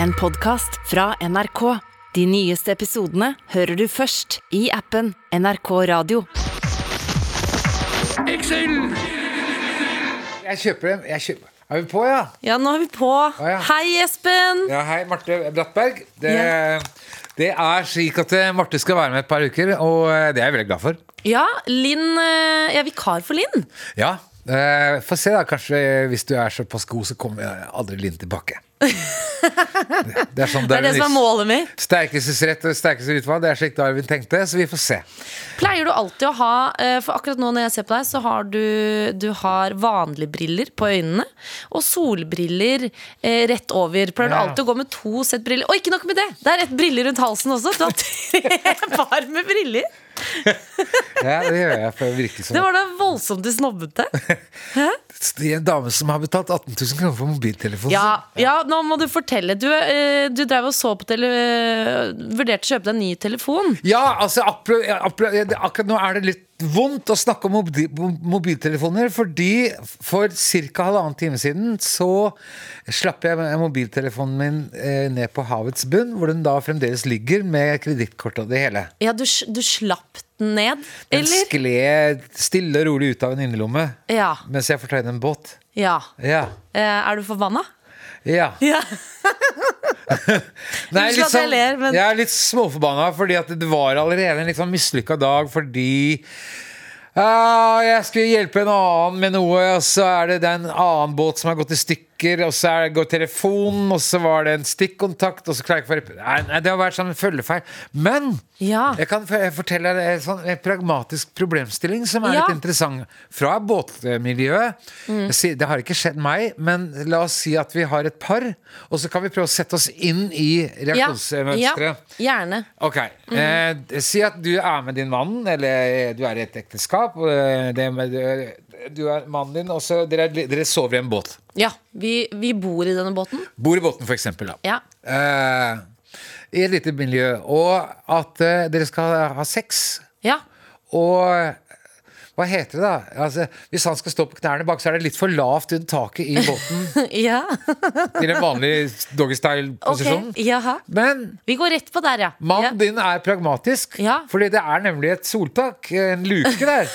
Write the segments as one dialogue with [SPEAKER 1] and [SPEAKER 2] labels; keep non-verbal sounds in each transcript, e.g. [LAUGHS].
[SPEAKER 1] En podcast fra NRK. De nyeste episodene hører du først i appen NRK Radio.
[SPEAKER 2] Jeg kjøper dem. Jeg kjøper. Er vi på, ja?
[SPEAKER 3] Ja, nå er vi på.
[SPEAKER 2] ja.
[SPEAKER 3] Hei, Espen!
[SPEAKER 2] ja hei, Marte Brattberg. Det,
[SPEAKER 3] Ja.
[SPEAKER 2] det er slik at eh, Marte skal være med et par uker, og eh, det er jeg veldig glad for.
[SPEAKER 3] Ja, Linn eh, Jeg er vikar for Linn.
[SPEAKER 2] Ja. eh, Få se, da. Kanskje eh, hvis du er såpass god, så kommer jeg aldri Linn tilbake. Det, det er sånn
[SPEAKER 3] Det er det som er
[SPEAKER 2] Darwinis-
[SPEAKER 3] målet mitt.
[SPEAKER 2] Sterkestes rett og sterkeste utvalg. Det er slik Darwin tenkte, så vi får se.
[SPEAKER 3] Pleier du alltid å ha eh, For akkurat nå når jeg ser på deg, så har du, du har vanlige briller på øynene. Og solbriller eh, rett over. Pleier du
[SPEAKER 2] Ja.
[SPEAKER 3] alltid å gå med to sett briller? Og ikke nok med det! Det er et briller rundt halsen også. Du har tre [LAUGHS] par med briller.
[SPEAKER 2] Ja, det gjør jeg for å virke som
[SPEAKER 3] Det var da voldsomt du snobbet det.
[SPEAKER 2] Det er en dame som har betalt 18 000 kroner for mobiltelefon.
[SPEAKER 3] Ja, ja, nå må du fortelle. Du, eh, du drev og så på tele... eh, Vurderte å kjøpe deg en ny telefon.
[SPEAKER 2] Ja, altså appro- appro- det- Akkurat nå er det litt vondt å snakke om mobi- mo- mobiltelefoner, fordi for ca. halvannen time siden så slapp jeg med mobiltelefonen min eh, ned på havets bunn, hvor den da fremdeles ligger med kredittkort og det hele.
[SPEAKER 3] Ja, du, s- du slapp den ned,
[SPEAKER 2] Den
[SPEAKER 3] eller?
[SPEAKER 2] skled stille og rolig ut av en innerlomme
[SPEAKER 3] Ja.
[SPEAKER 2] mens jeg fortøyde en båt.
[SPEAKER 3] ja.
[SPEAKER 2] Ja.
[SPEAKER 3] Eh, er du forbanna?
[SPEAKER 2] ja.
[SPEAKER 3] [LAUGHS] Ja.
[SPEAKER 2] Nei,
[SPEAKER 3] Unnskyld
[SPEAKER 2] litt
[SPEAKER 3] at jeg
[SPEAKER 2] sånn,
[SPEAKER 3] ler, men-
[SPEAKER 2] Jeg er litt småforbanna, fordi at det var allerede en litt sånn mislykka dag fordi ah, jeg skulle hjelpe en annen med noe, og så er det, det er en annen båt som har gått i stykker, og så er det, går telefonen, og så var det en stikkontakt, og så klarer jeg ikke å få rep- nei, nei, Det har vært sånn følgefeil. Men
[SPEAKER 3] Ja.
[SPEAKER 2] jeg kan for- fortelle deg en sånn en pragmatisk problemstilling som er
[SPEAKER 3] Ja. Mm.
[SPEAKER 2] litt interessant. Fra båtmiljøet. Jeg sier- Det har ikke skjedd meg, men la oss si at vi har et par, og så kan vi prøve å sette oss inn i reaksjonsmønsteret.
[SPEAKER 3] Gjerne.
[SPEAKER 2] Ok,
[SPEAKER 3] Mm.
[SPEAKER 2] eh, Si at du er med din mann, eller eh, du er i et ekteskap. og, eh, Det er med, eh, du er mannen din, og så dere, er- dere sover i en båt.
[SPEAKER 3] Ja, vi, vi bor i denne båten.
[SPEAKER 2] Bor i båten, for eksempel. Da.
[SPEAKER 3] Ja.
[SPEAKER 2] Eh, I et lite miljø. Og at eh, dere skal ha sex.
[SPEAKER 3] Ja.
[SPEAKER 2] Og hva heter det, da? Altså, hvis han skal stå på knærne bak, så er det litt for lavt under taket i båten.
[SPEAKER 3] [LAUGHS] ja.
[SPEAKER 2] I den vanlige
[SPEAKER 3] Ok.
[SPEAKER 2] doggystyle-posisjonen.
[SPEAKER 3] Jaha.
[SPEAKER 2] Men
[SPEAKER 3] Vi går rett på der, ja.
[SPEAKER 2] mannen din er pragmatisk,
[SPEAKER 3] Ja.
[SPEAKER 2] Fordi det er nemlig et soltak, en luke der,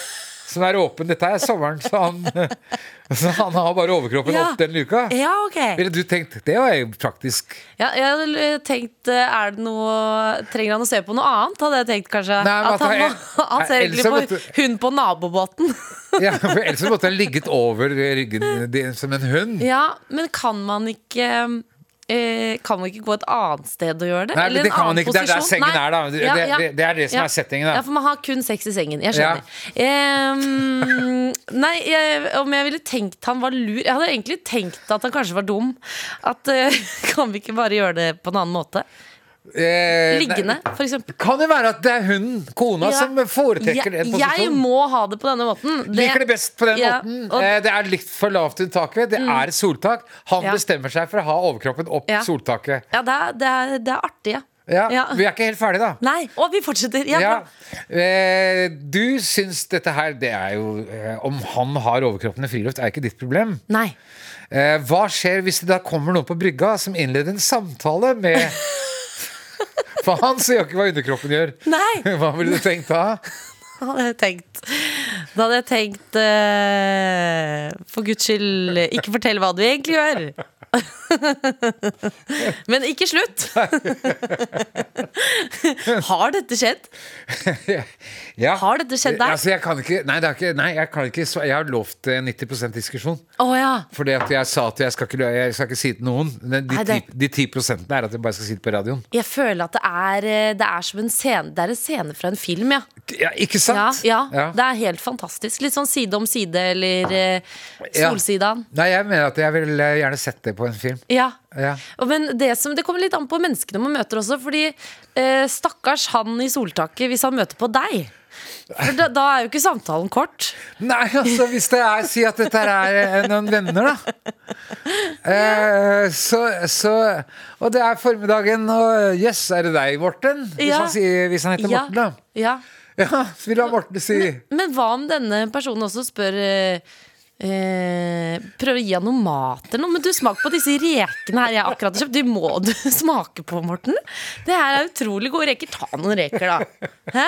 [SPEAKER 2] som er åpen. Dette er sommeren, så han, [LAUGHS] så han har bare overkroppen
[SPEAKER 3] Ja. Eh.
[SPEAKER 2] opp den luka.
[SPEAKER 3] ja. ja, ok.
[SPEAKER 2] Ville du tenkt Det var jo praktisk.
[SPEAKER 3] Ja, jeg hadde l- tenkt eh, Er det noe Trenger han å se på noe annet, hadde jeg tenkt kanskje.
[SPEAKER 2] Nei, men
[SPEAKER 3] at han,
[SPEAKER 2] at
[SPEAKER 3] må, [LAUGHS] han ser
[SPEAKER 2] jeg-
[SPEAKER 3] egentlig
[SPEAKER 2] Ellers så
[SPEAKER 3] på
[SPEAKER 2] måtte-
[SPEAKER 3] hun på nabobåten.
[SPEAKER 2] Ja, for ellers så måtte han ligget over ryggen din som en hund.
[SPEAKER 3] Ja, men kan man ikke eh, Kan man ikke gå et annet sted og gjøre det?
[SPEAKER 2] Nei, men
[SPEAKER 3] Eller
[SPEAKER 2] det
[SPEAKER 3] en
[SPEAKER 2] kan man
[SPEAKER 3] annen
[SPEAKER 2] ikke. Det er der
[SPEAKER 3] posisjon?
[SPEAKER 2] sengen
[SPEAKER 3] Nei.
[SPEAKER 2] er, da. Det- det- det- det er det som er settingen, da.
[SPEAKER 3] Ja, for man har kun sex i sengen. Jeg
[SPEAKER 2] Ja.
[SPEAKER 3] skjønner. Ehm, nei, jeg, om jeg ville tenkt han var lur Jeg hadde egentlig tenkt at han kanskje var dum. At eh, [LAUGHS] Kan vi ikke bare gjøre det på en annen måte?
[SPEAKER 2] Eh, nei,
[SPEAKER 3] Liggende, f.eks.
[SPEAKER 2] Kan det være at det er hun, kona, som foretrekker den
[SPEAKER 3] jeg, jeg
[SPEAKER 2] posisjonen?
[SPEAKER 3] må ha det på denne måten.
[SPEAKER 2] Liker det best på den
[SPEAKER 3] Ja,
[SPEAKER 2] måten.
[SPEAKER 3] og- Mm.
[SPEAKER 2] Eh, Det er litt for lavt under taket. Det er et soltak. Han
[SPEAKER 3] Ja.
[SPEAKER 2] bestemmer seg for å ha overkroppen opp
[SPEAKER 3] Ja.
[SPEAKER 2] soltaket.
[SPEAKER 3] Ja, det er, det er, det er artig, ja.
[SPEAKER 2] Ja,
[SPEAKER 3] Ja.
[SPEAKER 2] Vi er ikke helt ferdige, da.
[SPEAKER 3] Nei, og vi fortsetter. Ja,
[SPEAKER 2] Ja.
[SPEAKER 3] bra.
[SPEAKER 2] Eh, Du syns dette her Det er jo eh, Om han har overkroppen i friluft, er ikke ditt problem.
[SPEAKER 3] Nei.
[SPEAKER 2] Eh, Hva skjer hvis det da kommer noen på brygga som innleder en samtale med
[SPEAKER 3] [LAUGHS]
[SPEAKER 2] For han ser jo ikke hva underkroppen gjør.
[SPEAKER 3] Nei.
[SPEAKER 2] Hva ville du tenkt da?
[SPEAKER 3] Da hadde jeg tenkt Da hadde jeg tenkt eh, For guds skyld, ikke fortell hva du egentlig gjør. [LAUGHS] Men ikke slutt! [LAUGHS] Har dette skjedd?
[SPEAKER 2] [LAUGHS] Ja.
[SPEAKER 3] Har dette skjedd deg?
[SPEAKER 2] Altså, jeg kan ikke, nei, det er ikke, nei, jeg kan ikke sva- Jeg har lovt eh, 90 diskusjon.
[SPEAKER 3] Å ja.
[SPEAKER 2] Fordi at jeg sa at jeg skal ikke, lø- jeg skal ikke si det til noen. Men De,
[SPEAKER 3] Nei, det-
[SPEAKER 2] ti- de 10 prosentene er at jeg bare skal si det på radioen.
[SPEAKER 3] Jeg føler at det er, eh, det er som en scene Det er en scene fra en film, ja.
[SPEAKER 2] Ja, ikke
[SPEAKER 3] Ja,
[SPEAKER 2] sant?
[SPEAKER 3] ja,
[SPEAKER 2] Ja.
[SPEAKER 3] Det er helt fantastisk. Litt sånn side om side eller eh,
[SPEAKER 2] Ja.
[SPEAKER 3] Solsidan.
[SPEAKER 2] Nei, jeg mener at jeg vil eh, gjerne sett det på en film.
[SPEAKER 3] Ja.
[SPEAKER 2] Ja.
[SPEAKER 3] Og Men det, som, det kommer litt an på menneskene man møter også. Fordi eh, stakkars han i soltaket hvis han møter på deg. For da, da er jo ikke samtalen kort.
[SPEAKER 2] Nei,
[SPEAKER 3] [LAUGHS]
[SPEAKER 2] altså hvis det er Si at dette her er eh, noen venner, da. Eh, så, så Og det er formiddagen, og jøss, er det deg, Morten? Hvis,
[SPEAKER 3] Ja.
[SPEAKER 2] han, sier, hvis han heter
[SPEAKER 3] Ja.
[SPEAKER 2] Morten, da.
[SPEAKER 3] Ja.
[SPEAKER 2] Ja, så vil han Morten si
[SPEAKER 3] Men hva om denne personen også spør eh, Eh, prøve å gi han noe mat eller noe. Men du, smak på disse rekene her jeg akkurat har kjøpt. De må du [LAUGHS] smake på, Morten. Det her er utrolig gode reker. Ta noen reker, da. Hæ?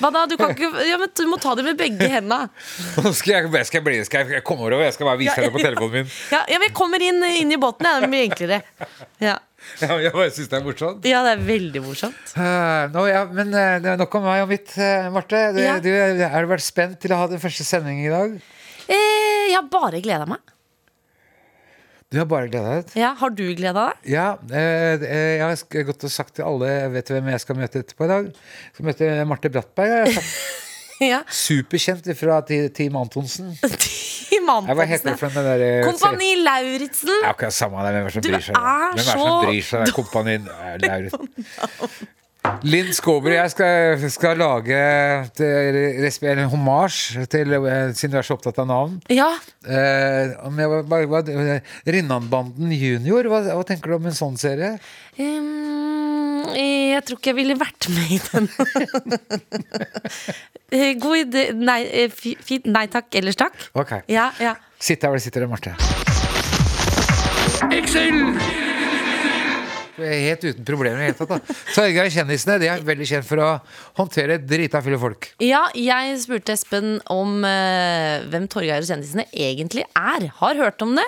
[SPEAKER 3] Hva da? Du kan ikke Ja, men du må ta dem med begge hendene.
[SPEAKER 2] Nå skal jeg, jeg, skal bli, skal jeg komme over og jeg skal bare vise henne på telefonen min.
[SPEAKER 3] Ja, ja men jeg kommer inn, inn i båten, jeg. Det blir enklere. Ja.
[SPEAKER 2] Jeg, jeg bare syns det er morsomt.
[SPEAKER 3] ja, det er veldig morsomt.
[SPEAKER 2] Eh, nå, ja, men eh, det er nok om meg og mitt, eh, Marte. Du,
[SPEAKER 3] Ja.
[SPEAKER 2] du, har du vært spent til å ha den første sendingen i dag?
[SPEAKER 3] Eh, jeg har bare gleda meg.
[SPEAKER 2] Du har bare gleda deg.
[SPEAKER 3] Ja, har du gleda deg?
[SPEAKER 2] Ja, eh, eh, jeg har sk- gått og sagt til alle jeg Vet hvem jeg skal møte etterpå i dag? Jeg skal møte Marte Brattberg. Jeg har [LAUGHS] sagt
[SPEAKER 3] [LAUGHS] Ja.
[SPEAKER 2] superkjent fra Ti- Team Antonsen.
[SPEAKER 3] I
[SPEAKER 2] Jeg, hva heter det for den der eh, serien?
[SPEAKER 3] Kompani Lauritzen.
[SPEAKER 2] Det er akkurat samme det, hvem er det som
[SPEAKER 3] Du
[SPEAKER 2] bryr seg.
[SPEAKER 3] er
[SPEAKER 2] Hvem er det
[SPEAKER 3] så
[SPEAKER 2] som bryr seg? Kompani
[SPEAKER 3] [LAUGHS]
[SPEAKER 2] Lauritz. Linn Skåber og jeg skal, skal lage et, eh, resp- eller en hommage til, eh, siden du er så opptatt av navn.
[SPEAKER 3] Ja.
[SPEAKER 2] Eh, om jeg var- bare, hva- Rinnanbanden junior, hva, hva tenker du om en sånn serie?
[SPEAKER 3] Ehm, jeg tror ikke jeg ville vært med i den. [LAUGHS] Eh, God idé. Nei, eh, fi- fint. Nei takk, ellers takk.
[SPEAKER 2] Ok,
[SPEAKER 3] Ja, ja.
[SPEAKER 2] Sitt der hvor du sitter, Marte. Du er Helt uten problemer i det hele tatt. da. Torgeir og kjendisene de er veldig kjent for å håndtere drita fulle folk.
[SPEAKER 3] ja, jeg spurte Espen om eh, hvem Torgeir og kjendisene egentlig er. Har hørt om det,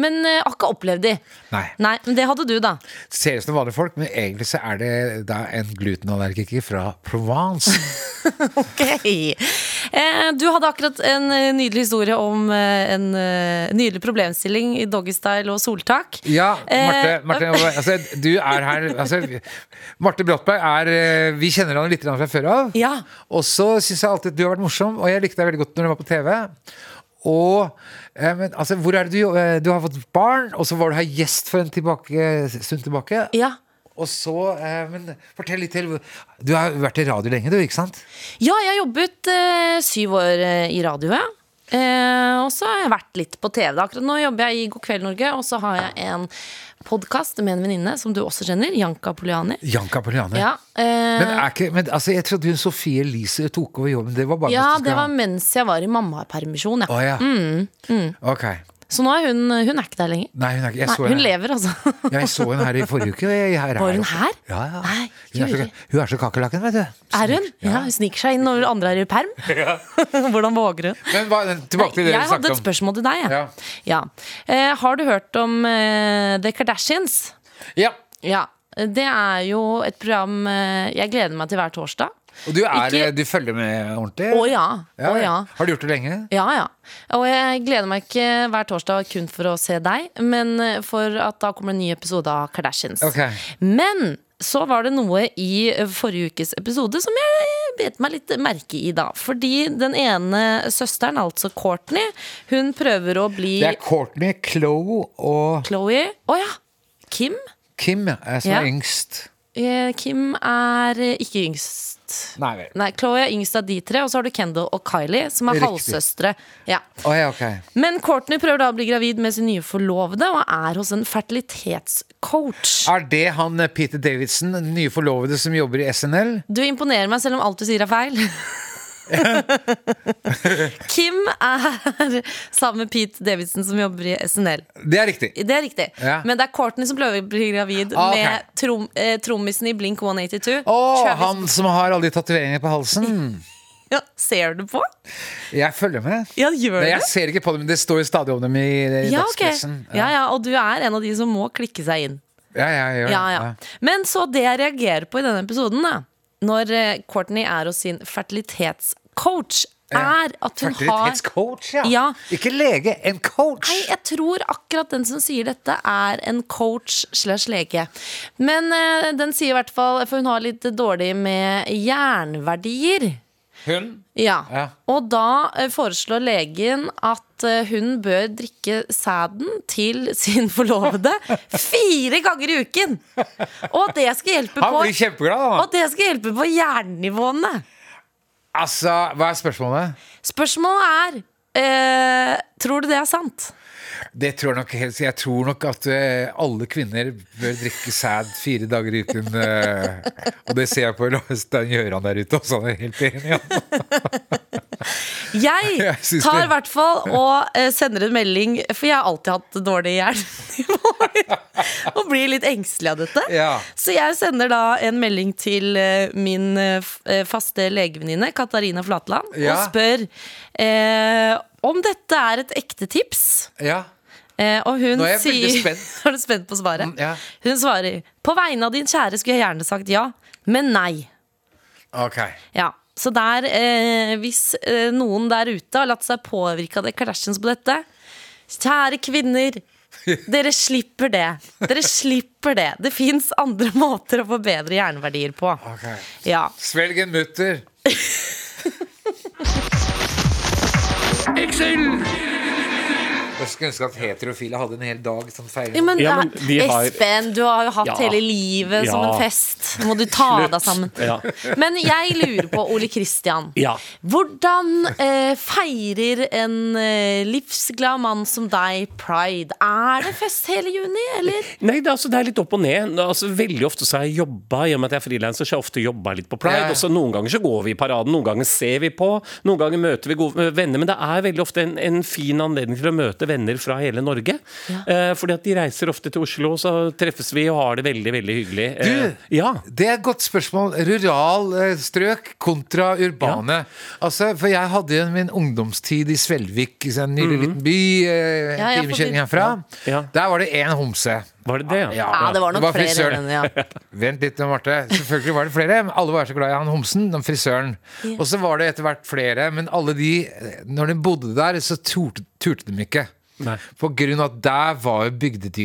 [SPEAKER 3] men eh, har ikke opplevd de.
[SPEAKER 2] Nei.
[SPEAKER 3] Nei, men det hadde du, da.
[SPEAKER 2] Ser ut som vanlige folk, men egentlig så er det da en glutenallergiker fra Provence.
[SPEAKER 3] Ok. Eh, du hadde akkurat en eh, nydelig historie om eh, en eh, nydelig problemstilling i doggystyle og soltak.
[SPEAKER 2] Ja, Marte,
[SPEAKER 3] [LAUGHS] Eh,
[SPEAKER 2] Marte altså, du er her altså, Marte Brattberg er eh, Vi kjenner han litt grann fra før av.
[SPEAKER 3] Ja.
[SPEAKER 2] Og så syns jeg alltid at du har vært morsom, og jeg likte deg veldig godt når du var på TV. Og eh, men, altså, hvor er det du, eh, du har fått barn, og så var du her gjest for en tilbake, stund tilbake.
[SPEAKER 3] Ja.
[SPEAKER 2] Og så eh, Men fortell litt til. Du har vært i radio lenge, du, ikke sant?
[SPEAKER 3] Ja, jeg har jobbet eh, syv år eh, i radioet. Eh, og så har jeg vært litt på TV. da. Akkurat nå jobber jeg i God kveld, Norge. Og så har jeg en podkast med en venninne som du også kjenner. Janka Poliani.
[SPEAKER 2] Janka Poliane.
[SPEAKER 3] Ja, eh,
[SPEAKER 2] Men, er ikke, men altså, jeg trodde hun Sofie Elise tok over jobben. Det var bare
[SPEAKER 3] ja,
[SPEAKER 2] hvis du
[SPEAKER 3] det
[SPEAKER 2] skal
[SPEAKER 3] var Mm,
[SPEAKER 2] ha-
[SPEAKER 3] mens jeg var i mammapermisjon.
[SPEAKER 2] Å
[SPEAKER 3] Ja.
[SPEAKER 2] ja. Ok.
[SPEAKER 3] Så nå er hun, hun er ikke der lenger.
[SPEAKER 2] Nei, hun er ikke jeg
[SPEAKER 3] Nei,
[SPEAKER 2] så
[SPEAKER 3] hun
[SPEAKER 2] henne.
[SPEAKER 3] lever, altså.
[SPEAKER 2] Jeg så henne her i forrige uke. Jeg, her er
[SPEAKER 3] Var hun
[SPEAKER 2] også.
[SPEAKER 3] her?
[SPEAKER 2] Ja, ja.
[SPEAKER 3] Nei,
[SPEAKER 2] hun, er så,
[SPEAKER 3] Guri.
[SPEAKER 2] hun er så kakerlakken, vet du.
[SPEAKER 3] Er hun? Ja, Hun sniker seg inn når andre er i
[SPEAKER 2] [LAUGHS]
[SPEAKER 3] perm. [LAUGHS] Hvordan våger hun?
[SPEAKER 2] Men hva, tilbake til
[SPEAKER 3] jeg
[SPEAKER 2] det du
[SPEAKER 3] hadde et
[SPEAKER 2] snakket om.
[SPEAKER 3] spørsmål til deg. jeg.
[SPEAKER 2] Ja.
[SPEAKER 3] Ja. Eh, har du hørt om eh, The Kardashians?
[SPEAKER 2] Ja,
[SPEAKER 3] Ja, det er jo et program eh, jeg gleder meg til hver torsdag.
[SPEAKER 2] og du, er,
[SPEAKER 3] Ikke-
[SPEAKER 2] du følger med ordentlig?
[SPEAKER 3] Å ja. Å ja.
[SPEAKER 2] Har du gjort det lenge?
[SPEAKER 3] Ja, ja. Og jeg gleder meg ikke hver torsdag kun for å se deg, men eh, for at da kommer en ny episode av Kardashians.
[SPEAKER 2] Ok.
[SPEAKER 3] Men så var det noe i eh, forrige ukes episode som jeg bet meg litt merke i, da. Fordi den ene søsteren, altså Courtney, hun prøver å bli
[SPEAKER 2] Det er Courtney, Chloe og
[SPEAKER 3] Chloé. Å ja! Kim?
[SPEAKER 2] Kim eh, som
[SPEAKER 3] Ja.
[SPEAKER 2] er yngst.
[SPEAKER 3] Eh, Kim er eh, ikke yngst.
[SPEAKER 2] Nei vel.
[SPEAKER 3] Nei, Chloé er yngst av de tre, og så har du Kendall og Kylie, som er
[SPEAKER 2] Riktig.
[SPEAKER 3] halvsøstre. Ja.
[SPEAKER 2] Å ja, ok.
[SPEAKER 3] Men Courtney prøver da å bli gravid med sin nye forlovede, og er hos en fertilitetscoach.
[SPEAKER 2] Er det han eh, Peter Davidson, den nye forlovede som jobber i SNL?
[SPEAKER 3] Du imponerer meg selv om alt du sier er feil. [LAUGHS] Kim er sammen med Pete Davidson, som jobber i SNL.
[SPEAKER 2] Det er riktig.
[SPEAKER 3] Det er riktig.
[SPEAKER 2] Ja.
[SPEAKER 3] Men det er Courtney som prøver å bli gravid
[SPEAKER 2] Ah, ok.
[SPEAKER 3] med trom, eh, trommisen i Blink 182.
[SPEAKER 2] Å,
[SPEAKER 3] Travis-
[SPEAKER 2] han som har alle de tatoveringene på halsen.
[SPEAKER 3] ja, ser du på?
[SPEAKER 2] Jeg følger med.
[SPEAKER 3] Ja, gjør
[SPEAKER 2] Nei,
[SPEAKER 3] du?
[SPEAKER 2] jeg ser ikke på det, men det står jo stadig om dem i, i
[SPEAKER 3] Ja, ok.
[SPEAKER 2] dagspressen.
[SPEAKER 3] ja, ja, og du er en av de som må klikke seg inn.
[SPEAKER 2] Ja, ja, jeg gjør det.
[SPEAKER 3] Ja, ja. Men så det jeg reagerer på i denne episoden, da, når eh, Courtney er hos sin fertilitetscoach,
[SPEAKER 2] Ja.
[SPEAKER 3] er at hun har
[SPEAKER 2] Fertilitetscoach, ja.
[SPEAKER 3] Ja.
[SPEAKER 2] Ikke lege, en coach.
[SPEAKER 3] Nei, jeg tror akkurat den som sier dette, er en coach slash lege. Men eh, den sier i hvert fall For hun har litt dårlig med jernverdier.
[SPEAKER 2] Hun?
[SPEAKER 3] Ja.
[SPEAKER 2] Ja.
[SPEAKER 3] Og da eh, foreslår legen at eh, hun bør drikke sæden til sin
[SPEAKER 2] [LAUGHS]
[SPEAKER 3] forlovede fire ganger i uken! Og at det skal hjelpe
[SPEAKER 2] Han
[SPEAKER 3] på
[SPEAKER 2] blir kjempeglad, da.
[SPEAKER 3] Og det skal hjelpe på jernnivåene.
[SPEAKER 2] Altså, hva er spørsmålet?
[SPEAKER 3] Spørsmålet er eh, Tror du det er sant?
[SPEAKER 2] Det tror jeg nok helt Jeg tror nok at eh, alle kvinner bør drikke sæd fire dager i uken. eh, [LAUGHS] og det ser jeg på Stein Gjøran der ute også, han er helt enig. Ja.
[SPEAKER 3] Jeg
[SPEAKER 2] [LAUGHS] Jeg syns
[SPEAKER 3] tar i
[SPEAKER 2] det.
[SPEAKER 3] hvert fall og eh, sender en melding, for jeg har alltid hatt dårlig hjerne. [LAUGHS] og blir litt engstelig av dette.
[SPEAKER 2] Ja.
[SPEAKER 3] Så jeg sender da en melding til eh, min eh, f- eh, faste legevenninne Katarina Flatland og
[SPEAKER 2] Ja.
[SPEAKER 3] spør eh, om dette er et ekte tips.
[SPEAKER 2] Ja.
[SPEAKER 3] Eh, og hun
[SPEAKER 2] Nå er jeg
[SPEAKER 3] sier
[SPEAKER 2] veldig
[SPEAKER 3] [LAUGHS]
[SPEAKER 2] spent.
[SPEAKER 3] Er du spent på svaret?
[SPEAKER 2] Mm, ja.
[SPEAKER 3] Hun svarer På vegne av din kjære skulle jeg gjerne sagt ja, men nei.
[SPEAKER 2] Ok.
[SPEAKER 3] Ja, så der, eh, hvis eh, noen der ute har latt seg påvirke av det clashen på dette Kjære kvinner,
[SPEAKER 2] [LAUGHS]
[SPEAKER 3] dere slipper det. Dere slipper det. Det fins andre [LAUGHS] måter å få bedre hjerneverdier på.
[SPEAKER 2] ok
[SPEAKER 3] Ja.
[SPEAKER 2] Svelg en mutter. Jeg skulle ønske at heterofile hadde en hel dag som feiring.
[SPEAKER 3] Ja, men,
[SPEAKER 4] Ja, men
[SPEAKER 3] det er-
[SPEAKER 4] vi har-
[SPEAKER 3] Espen, du har jo hatt
[SPEAKER 4] Ja.
[SPEAKER 3] hele livet som
[SPEAKER 4] Ja.
[SPEAKER 3] en fest. Nå må du ta deg sammen.
[SPEAKER 4] Ja.
[SPEAKER 3] Men jeg lurer på, Ole Kristian.
[SPEAKER 4] Ja.
[SPEAKER 3] Hvordan eh, feirer en eh, livsglad mann som deg pride? Er det fest hele juni, eller?
[SPEAKER 4] Nei, det er, altså, det er litt opp og ned. Altså, veldig ofte så har jeg jobba, i og med at jeg er frilanser, så har jeg ofte jobba litt på Pride.
[SPEAKER 2] Ja.
[SPEAKER 4] Og så noen ganger så går vi i paraden, noen ganger ser vi på, noen ganger møter vi gode eh, venner. Men det er veldig ofte en, en fin anledning til å møte venner fra hele Norge. Eh, fordi at de reiser ofte til Oslo, så treffes vi og har det veldig, veldig hyggelig. Eh, ja.
[SPEAKER 2] Det er et godt spørsmål. Rural eh, strøk kontra urbane. Altså, for jeg hadde jo min ungdomstid i Svelvik, i en nydelig liten by.
[SPEAKER 3] Ja,
[SPEAKER 2] eh,
[SPEAKER 3] ja,
[SPEAKER 2] En time
[SPEAKER 3] forbi-
[SPEAKER 2] kjøring herfra.
[SPEAKER 4] Mm. Ja.
[SPEAKER 2] Der var det én homse.
[SPEAKER 4] Var det det?
[SPEAKER 2] Ja.
[SPEAKER 3] Ja, det var nok
[SPEAKER 2] Det var
[SPEAKER 3] flere.
[SPEAKER 2] frisøren.
[SPEAKER 3] enn den, ja.
[SPEAKER 2] Vent litt, nå, Marte. Selvfølgelig var det flere. men Alle var så glad i han homsen, den frisøren. Og så var det etter hvert flere, men alle de Når de bodde der, så turte, turte de ikke.
[SPEAKER 4] Nei.
[SPEAKER 2] På grunn av at der var jo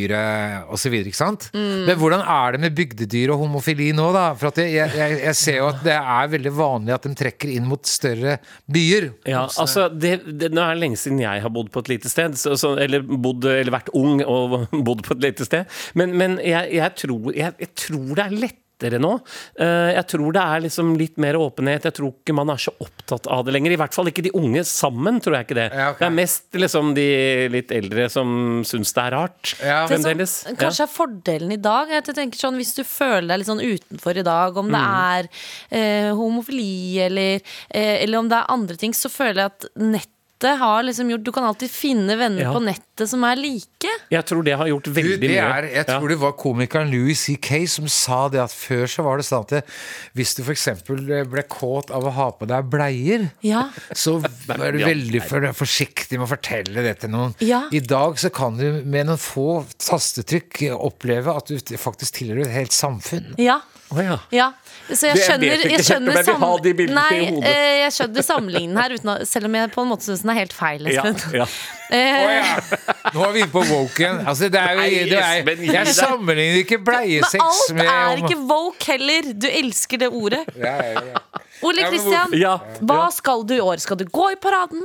[SPEAKER 2] bygdedyret osv. Ikke sant? Men hvordan er det med bygdedyr og homofili nå, da? For at jeg, jeg, jeg ser jo at det er veldig vanlig at de trekker inn mot større byer.
[SPEAKER 4] Ja, altså, det, det, nå er det lenge siden jeg har bodd på et lite sted, så, så, eller, bodd, eller vært ung og [LAUGHS] bodd på et lite sted. Men, men jeg, jeg, tror, jeg, jeg tror det er lettere nå. Eh, Jeg tror det er liksom litt mer åpenhet. Jeg tror ikke man er så opptatt av det lenger. I hvert fall ikke de unge sammen, tror jeg ikke det.
[SPEAKER 2] Ja, ok.
[SPEAKER 4] Det er mest liksom de litt eldre som syns det er rart.
[SPEAKER 2] Ja.
[SPEAKER 3] Det som
[SPEAKER 4] Fremdeles.
[SPEAKER 3] kanskje er fordelen i dag. er at Jeg tenker sånn, Hvis du føler deg litt sånn utenfor i dag, om det
[SPEAKER 4] Mm.
[SPEAKER 3] er eh, homofili eller, eh, eller om det er andre ting, så føler jeg at nettet har liksom gjort Du kan alltid finne venner
[SPEAKER 4] Ja.
[SPEAKER 3] på nettet som er like.
[SPEAKER 4] Jeg tror det har gjort
[SPEAKER 2] Du,
[SPEAKER 4] veldig
[SPEAKER 2] det
[SPEAKER 4] mye.
[SPEAKER 2] er, jeg
[SPEAKER 4] Ja.
[SPEAKER 2] tror det var komikeren Louis C.K. som sa det at før så var det sånn at det- hvis du f.eks. ble kåt av å ha på deg bleier,
[SPEAKER 3] Ja.
[SPEAKER 2] så er du
[SPEAKER 4] ja,
[SPEAKER 2] veldig for, forsiktig med å fortelle det til noen.
[SPEAKER 3] Ja.
[SPEAKER 2] I dag så kan du med noen få tastetrykk oppleve at du faktisk tilhører et helt samfunn.
[SPEAKER 3] Ja.
[SPEAKER 4] Å, ja.
[SPEAKER 3] Ja, så jeg
[SPEAKER 4] Det- jeg vet
[SPEAKER 3] skjønner,
[SPEAKER 4] ikke
[SPEAKER 3] jeg
[SPEAKER 4] helt om
[SPEAKER 3] skjønner,
[SPEAKER 4] jeg vil ha de bildene
[SPEAKER 3] nei,
[SPEAKER 4] i hodet.
[SPEAKER 3] eh, jeg skjønner sammenligningen her, uten å, selv om jeg på en måte syns den er helt feil.
[SPEAKER 4] Ja,
[SPEAKER 3] Espen.
[SPEAKER 4] ja.
[SPEAKER 2] Å
[SPEAKER 3] Eh,
[SPEAKER 2] ja. Nå er vi inne på woke igjen. Altså, det er,
[SPEAKER 4] Nei,
[SPEAKER 2] jo- det er,
[SPEAKER 4] Espen, gi
[SPEAKER 2] jeg
[SPEAKER 4] deg.
[SPEAKER 2] sammenligner ikke
[SPEAKER 3] men
[SPEAKER 2] bleiesex
[SPEAKER 3] alt
[SPEAKER 2] med
[SPEAKER 3] er ikke woke heller! Du elsker det ordet.
[SPEAKER 2] ja, ja, ja.
[SPEAKER 3] Ole
[SPEAKER 2] Ja, men
[SPEAKER 3] Kristian,
[SPEAKER 4] Ja,
[SPEAKER 3] hva
[SPEAKER 4] ja.
[SPEAKER 3] skal du i år? Skal du gå i paraden?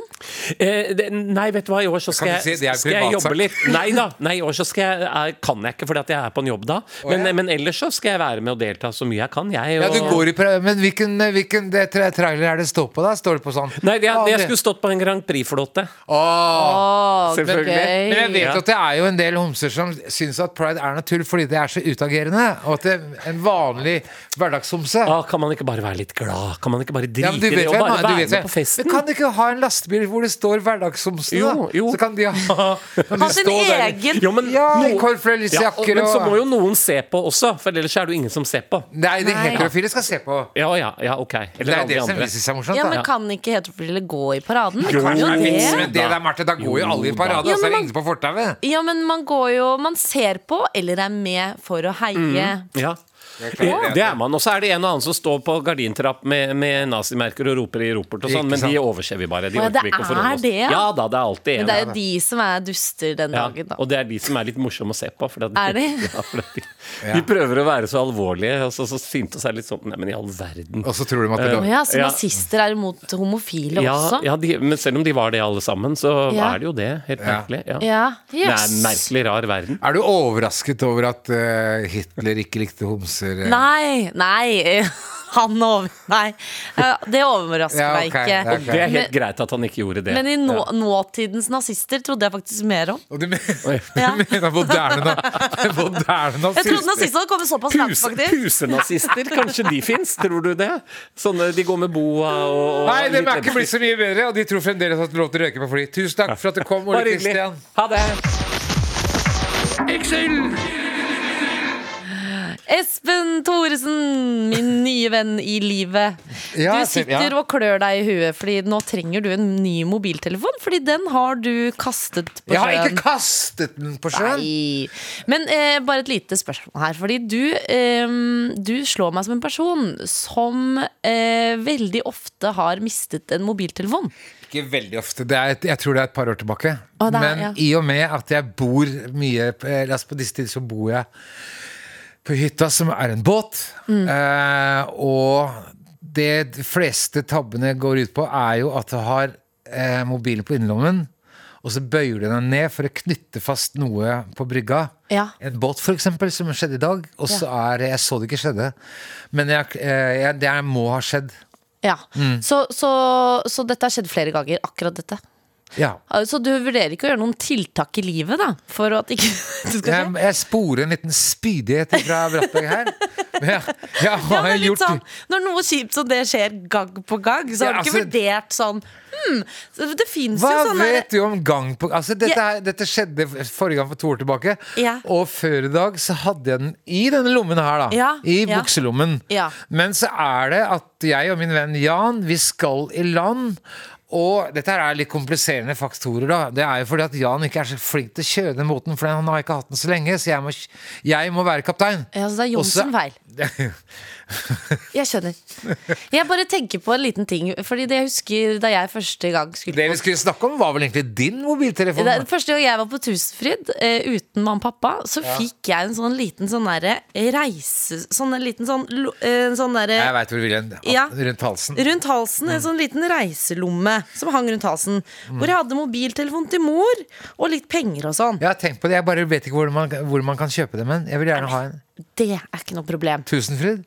[SPEAKER 4] Eh, det, nei, vet du hva, i år så skal
[SPEAKER 2] Kan du
[SPEAKER 4] jeg,
[SPEAKER 2] si det er
[SPEAKER 4] skal jeg
[SPEAKER 2] privatsak?
[SPEAKER 4] jobbe litt. Nei da, nei, i år så skal jeg, er, kan jeg ikke fordi at jeg er på en jobb da. Men, eh,
[SPEAKER 2] ja.
[SPEAKER 4] men ellers så skal jeg være med og delta så mye jeg kan. Jeg,
[SPEAKER 2] Ja,
[SPEAKER 4] og,
[SPEAKER 2] du går i prøve, men hvilken, hvilken det tra- trailer er det står på da? Står det Ah, på sånn?
[SPEAKER 4] Nei, jeg, jeg
[SPEAKER 2] Aldri.
[SPEAKER 4] skulle stått på en Grand Prix-flåte.
[SPEAKER 2] Åh.
[SPEAKER 3] Å,
[SPEAKER 4] Selvfølgelig.
[SPEAKER 3] gøy.
[SPEAKER 2] Men jeg vet
[SPEAKER 4] Ja.
[SPEAKER 2] at det er jo en del homser som syns at pride er noe tull fordi det er så utagerende. Og at det, en vanlig hverdagshomse
[SPEAKER 4] Ah, kan man ikke bare være litt glad? Kan man ikke bare drite
[SPEAKER 2] Ja, men du
[SPEAKER 4] i det
[SPEAKER 2] vet
[SPEAKER 4] og
[SPEAKER 2] hvem
[SPEAKER 4] bare
[SPEAKER 2] er- du
[SPEAKER 4] være
[SPEAKER 2] vet
[SPEAKER 4] med
[SPEAKER 2] hvem.
[SPEAKER 4] på festen?
[SPEAKER 2] Men kan du ikke ha en lastebil hvor det står hverdagshomsene, da?
[SPEAKER 4] Jo, jo.
[SPEAKER 2] Så kan de [LAUGHS] ha kan
[SPEAKER 3] Ha
[SPEAKER 2] de
[SPEAKER 3] sin
[SPEAKER 2] stå der.
[SPEAKER 3] egen
[SPEAKER 4] Jo, men,
[SPEAKER 2] Ja,
[SPEAKER 4] noe-
[SPEAKER 2] i cornflakesjakker
[SPEAKER 4] Ja, og- men så
[SPEAKER 2] og-
[SPEAKER 4] må jo noen se på også, for ellers er det jo ingen som ser på.
[SPEAKER 2] Nei, de
[SPEAKER 3] Nei.
[SPEAKER 2] heterofile skal se på.
[SPEAKER 4] Ja, ja, ja, ok.
[SPEAKER 2] Det
[SPEAKER 4] Eller
[SPEAKER 2] er
[SPEAKER 4] alle
[SPEAKER 2] det
[SPEAKER 4] de
[SPEAKER 2] som
[SPEAKER 4] andre.
[SPEAKER 2] vi syns er morsomt.
[SPEAKER 3] Ja,
[SPEAKER 2] da.
[SPEAKER 3] men kan ikke heterofile gå i paraden? Det
[SPEAKER 4] Jo.
[SPEAKER 3] kan jo
[SPEAKER 4] Nei,
[SPEAKER 3] det.
[SPEAKER 4] men-
[SPEAKER 2] Men det der, Marte, da går jo alle i
[SPEAKER 4] Jo,
[SPEAKER 2] parade,
[SPEAKER 4] da.
[SPEAKER 2] og så er
[SPEAKER 3] Ja,
[SPEAKER 2] det
[SPEAKER 3] men-
[SPEAKER 2] ingen på fortauet.
[SPEAKER 3] Ja, men man går jo Man ser på, eller er med for å
[SPEAKER 2] Mm.
[SPEAKER 3] heie.
[SPEAKER 4] Ja. Eh,
[SPEAKER 2] Det er
[SPEAKER 4] Det,
[SPEAKER 2] klart det.
[SPEAKER 4] det er man. Og så er det en og annen som står på gardintrapp med, med nazimerker og roper i ropert og sånn,
[SPEAKER 2] Ikke
[SPEAKER 4] men de
[SPEAKER 2] sant.
[SPEAKER 4] overser vi bare. De
[SPEAKER 3] Å, ja,
[SPEAKER 4] orker
[SPEAKER 3] det
[SPEAKER 4] vi ikke å forholde
[SPEAKER 3] er
[SPEAKER 4] oss
[SPEAKER 3] det, ja.
[SPEAKER 4] Ja da, det er alltid
[SPEAKER 3] Men
[SPEAKER 4] en.
[SPEAKER 3] det er jo de som er duster den
[SPEAKER 4] Ja,
[SPEAKER 3] dagen, da.
[SPEAKER 4] og det er de som er litt morsomme å se på. For det,
[SPEAKER 3] Er de?
[SPEAKER 4] [LAUGHS] Ja, for det, de prøver å være så alvorlige, og så, så sinte oss er litt sånn Nei, men i all verden.
[SPEAKER 2] Og så tror de at det
[SPEAKER 3] Å ja, så
[SPEAKER 4] Ja.
[SPEAKER 3] nazister er imot homofile
[SPEAKER 4] Ja,
[SPEAKER 3] også?
[SPEAKER 4] ja de, men selv om de var det alle sammen, så
[SPEAKER 3] Ja.
[SPEAKER 4] er det jo det. Helt
[SPEAKER 2] Ja.
[SPEAKER 4] merkelig. Ja.
[SPEAKER 3] Ja,
[SPEAKER 4] Det er
[SPEAKER 3] jøss.
[SPEAKER 4] en merkelig rar verden.
[SPEAKER 2] Er du overrasket over at eh, Hitler ikke likte homser? eh?
[SPEAKER 3] Nei, [LAUGHS] nei. Han over... Nei, eh, det overrasker
[SPEAKER 2] Ja,
[SPEAKER 3] meg
[SPEAKER 2] ok,
[SPEAKER 3] ikke.
[SPEAKER 2] ja, ok.
[SPEAKER 4] Det er helt greit at han ikke gjorde det.
[SPEAKER 3] Men i nå, nåtidens nazister trodde jeg faktisk mer om.
[SPEAKER 2] Og du mener,
[SPEAKER 4] Oi.
[SPEAKER 3] Ja.
[SPEAKER 2] [LAUGHS] du mener moderne na- [LAUGHS] moderne
[SPEAKER 3] Jeg trodde
[SPEAKER 2] nazister?
[SPEAKER 3] nazistene hadde kommet såpass langt,
[SPEAKER 4] Puse,
[SPEAKER 3] faktisk.
[SPEAKER 4] pusenazister, kanskje de fins? Tror du det? Sånne de går med boa og og
[SPEAKER 2] Nei, det
[SPEAKER 4] litt
[SPEAKER 2] er ikke blitt
[SPEAKER 4] leppestift.
[SPEAKER 2] så mye bedre, og de tror fremdeles at det er lov til å røyke på fly. Tusen takk for at du kom, Ole
[SPEAKER 4] Bare hyggelig.
[SPEAKER 2] Kristian.
[SPEAKER 4] Ha det.
[SPEAKER 3] Espen Thoresen, min nye venn i livet.
[SPEAKER 2] [LAUGHS] Ja,
[SPEAKER 3] du
[SPEAKER 2] jeg ser-
[SPEAKER 3] sitter
[SPEAKER 2] ja.
[SPEAKER 3] og klør deg i huet, Fordi nå trenger du en ny mobiltelefon. Fordi den har du kastet på
[SPEAKER 2] Jeg har
[SPEAKER 3] sjøen.
[SPEAKER 2] ikke kastet den på sjøen!
[SPEAKER 3] Nei. Men eh, bare et lite spørsmål her. Fordi du, eh, du slår meg som en person som eh, veldig ofte har mistet en mobiltelefon.
[SPEAKER 2] Ikke veldig ofte. Det er et, jeg tror det er et par år tilbake.
[SPEAKER 3] Å, det er-
[SPEAKER 2] Men
[SPEAKER 3] ja.
[SPEAKER 2] i og med at jeg bor mye eh, altså På disse tider så bor jeg på hytta, som er en båt.
[SPEAKER 3] Mm.
[SPEAKER 2] Eh, og det de fleste tabbene går ut på, er jo at du har eh, mobilen på innerlommen, og så bøyer du den ned for å knytte fast noe på brygga.
[SPEAKER 3] Ja.
[SPEAKER 2] En båt, for eksempel, som skjedde i dag. Og så er Jeg så det ikke skjedde, men jeg, eh, jeg, det må ha skjedd.
[SPEAKER 3] Ja.
[SPEAKER 2] Mm.
[SPEAKER 3] Så, så, så dette har skjedd flere ganger, akkurat dette.
[SPEAKER 2] Ja.
[SPEAKER 3] Så du vurderer ikke å gjøre noen tiltak i livet da for at ikke [LAUGHS] det skal skje?
[SPEAKER 2] Jeg, jeg sporer en liten spydighet fra Brattberg
[SPEAKER 3] [LAUGHS]
[SPEAKER 2] her. Men jeg, jeg
[SPEAKER 3] Ja,
[SPEAKER 2] har
[SPEAKER 3] men litt
[SPEAKER 2] gjort
[SPEAKER 3] sånn, når noe kjipt som det skjer gang på gang, så har
[SPEAKER 2] Ja,
[SPEAKER 3] du ikke
[SPEAKER 2] altså-
[SPEAKER 3] vurdert sånn hmm, så Det fins
[SPEAKER 2] Hva
[SPEAKER 3] jo sånn der-
[SPEAKER 2] vet du om gang på Altså, dette,
[SPEAKER 3] Ja.
[SPEAKER 2] her- dette skjedde forrige gang for to år tilbake.
[SPEAKER 3] Ja.
[SPEAKER 2] Og før i dag så hadde jeg den i denne lommen her, da.
[SPEAKER 3] Ja,
[SPEAKER 2] I
[SPEAKER 3] ja.
[SPEAKER 2] bukselommen.
[SPEAKER 3] Ja.
[SPEAKER 2] Men så er det at jeg og min venn Jan, vi skal i land. Og dette her er litt kompliserende faktorer, da. Det er jo fordi at Jan ikke er så flink til å kjøre den båten, for han har ikke hatt den så lenge, så jeg må, jeg må være kaptein.
[SPEAKER 3] Ja, så det er
[SPEAKER 2] Og så-
[SPEAKER 3] Johnsen
[SPEAKER 2] [LAUGHS]
[SPEAKER 3] feil. Jeg skjønner. Jeg bare tenker på en liten ting. Fordi det jeg husker da jeg første gang skulle
[SPEAKER 2] Det sånn- vi skulle snakke om, var vel egentlig din mobiltelefon?
[SPEAKER 3] Det er- Første gang jeg var på Tusenfryd eh, uten mamma og pappa, så fikk jeg en sånn liten sånn derre reise... Sånn en liten sånn, lo- eh, en sånn derre
[SPEAKER 2] Jeg veit hvor du vil hen.
[SPEAKER 3] Ja.
[SPEAKER 2] Rundt halsen.
[SPEAKER 3] Rundt halsen, en sånn liten reiselomme som hang rundt halsen. Hvor jeg hadde mobiltelefon til mor, og litt penger og sånn.
[SPEAKER 2] Jeg har tenkt på det, jeg bare vet ikke hvor man, hvor man kan kjøpe det. Men jeg vil gjerne ha en
[SPEAKER 3] Det er ikke noe problem. [LAUGHS]
[SPEAKER 2] Tusenfryd.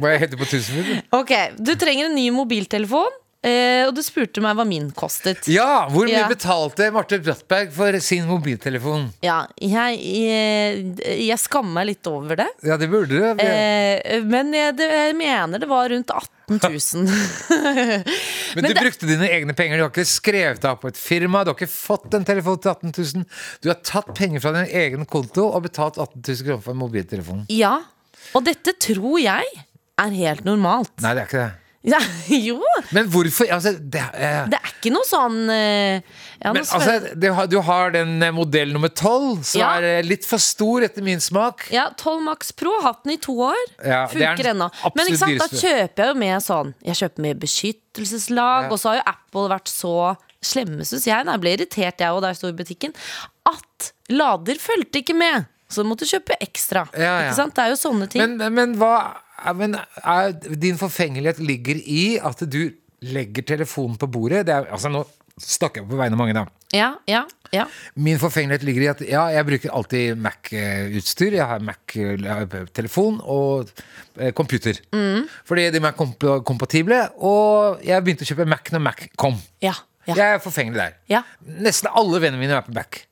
[SPEAKER 2] Må jeg hete på Tusenfryd?
[SPEAKER 3] Ok, Du trenger en ny mobiltelefon, eh, og du spurte meg hva min kostet.
[SPEAKER 2] Ja! Hvor mye
[SPEAKER 3] Ja.
[SPEAKER 2] betalte Marte Brattberg for sin mobiltelefon?
[SPEAKER 3] Ja, jeg, jeg, jeg skammer meg litt over det.
[SPEAKER 2] Ja, det burde du. Men
[SPEAKER 3] Eh, men jeg, det, jeg mener det var rundt 18
[SPEAKER 2] [LAUGHS]
[SPEAKER 3] 000.
[SPEAKER 2] du brukte dine egne penger. Du har ikke skrevet deg opp på et firma. Du har ikke fått en telefon til 18 000. Du har tatt penger fra din egen konto og betalt 18 000 kroner for en mobiltelefon.
[SPEAKER 3] ja, og dette tror jeg er helt normalt.
[SPEAKER 2] Nei, det er ikke det.
[SPEAKER 3] Ja, [LAUGHS] jo,
[SPEAKER 2] Men hvorfor Altså, det, eh,
[SPEAKER 3] det er ikke noe sånn eh, ja, noe
[SPEAKER 2] Men
[SPEAKER 3] spør-
[SPEAKER 2] altså, du har, du har den eh, modell nummer tolv, som
[SPEAKER 3] Ja.
[SPEAKER 2] er eh, litt for stor etter min smak.
[SPEAKER 3] Ja, 12 Max Pro, hatt den i to år.
[SPEAKER 2] Ja, det er
[SPEAKER 3] funker
[SPEAKER 2] den
[SPEAKER 3] ennå.
[SPEAKER 2] absolutt
[SPEAKER 3] Men ikke sant, da
[SPEAKER 2] dyreste.
[SPEAKER 3] kjøper jeg jo med sånn Jeg kjøper med beskyttelseslag,
[SPEAKER 2] Ja.
[SPEAKER 3] og så har jo Apple vært så slemme, syns jeg. Da. Jeg ble irritert, jeg òg, da jeg sto i butikken. At lader fulgte ikke med! Så måtte du kjøpe ekstra.
[SPEAKER 2] Ja, ja.
[SPEAKER 3] Ikke sant? Det er jo sånne ting.
[SPEAKER 2] Men, men hva er- men er, Din forfengelighet ligger i at du legger telefonen på bordet. Det er, altså, nå snakker jeg på vegne av mange, da.
[SPEAKER 3] ja, ja, ja.
[SPEAKER 2] Min forfengelighet ligger i at ja, jeg bruker alltid Mac-utstyr. Jeg har Mac-telefon og eh, computer. Fordi de er komp kompatible, og jeg begynte å kjøpe Mac når Mac kom.
[SPEAKER 3] ja, ja.
[SPEAKER 2] Jeg er forfengelig der.
[SPEAKER 3] Ja.
[SPEAKER 2] Nesten alle vennene mine er på back.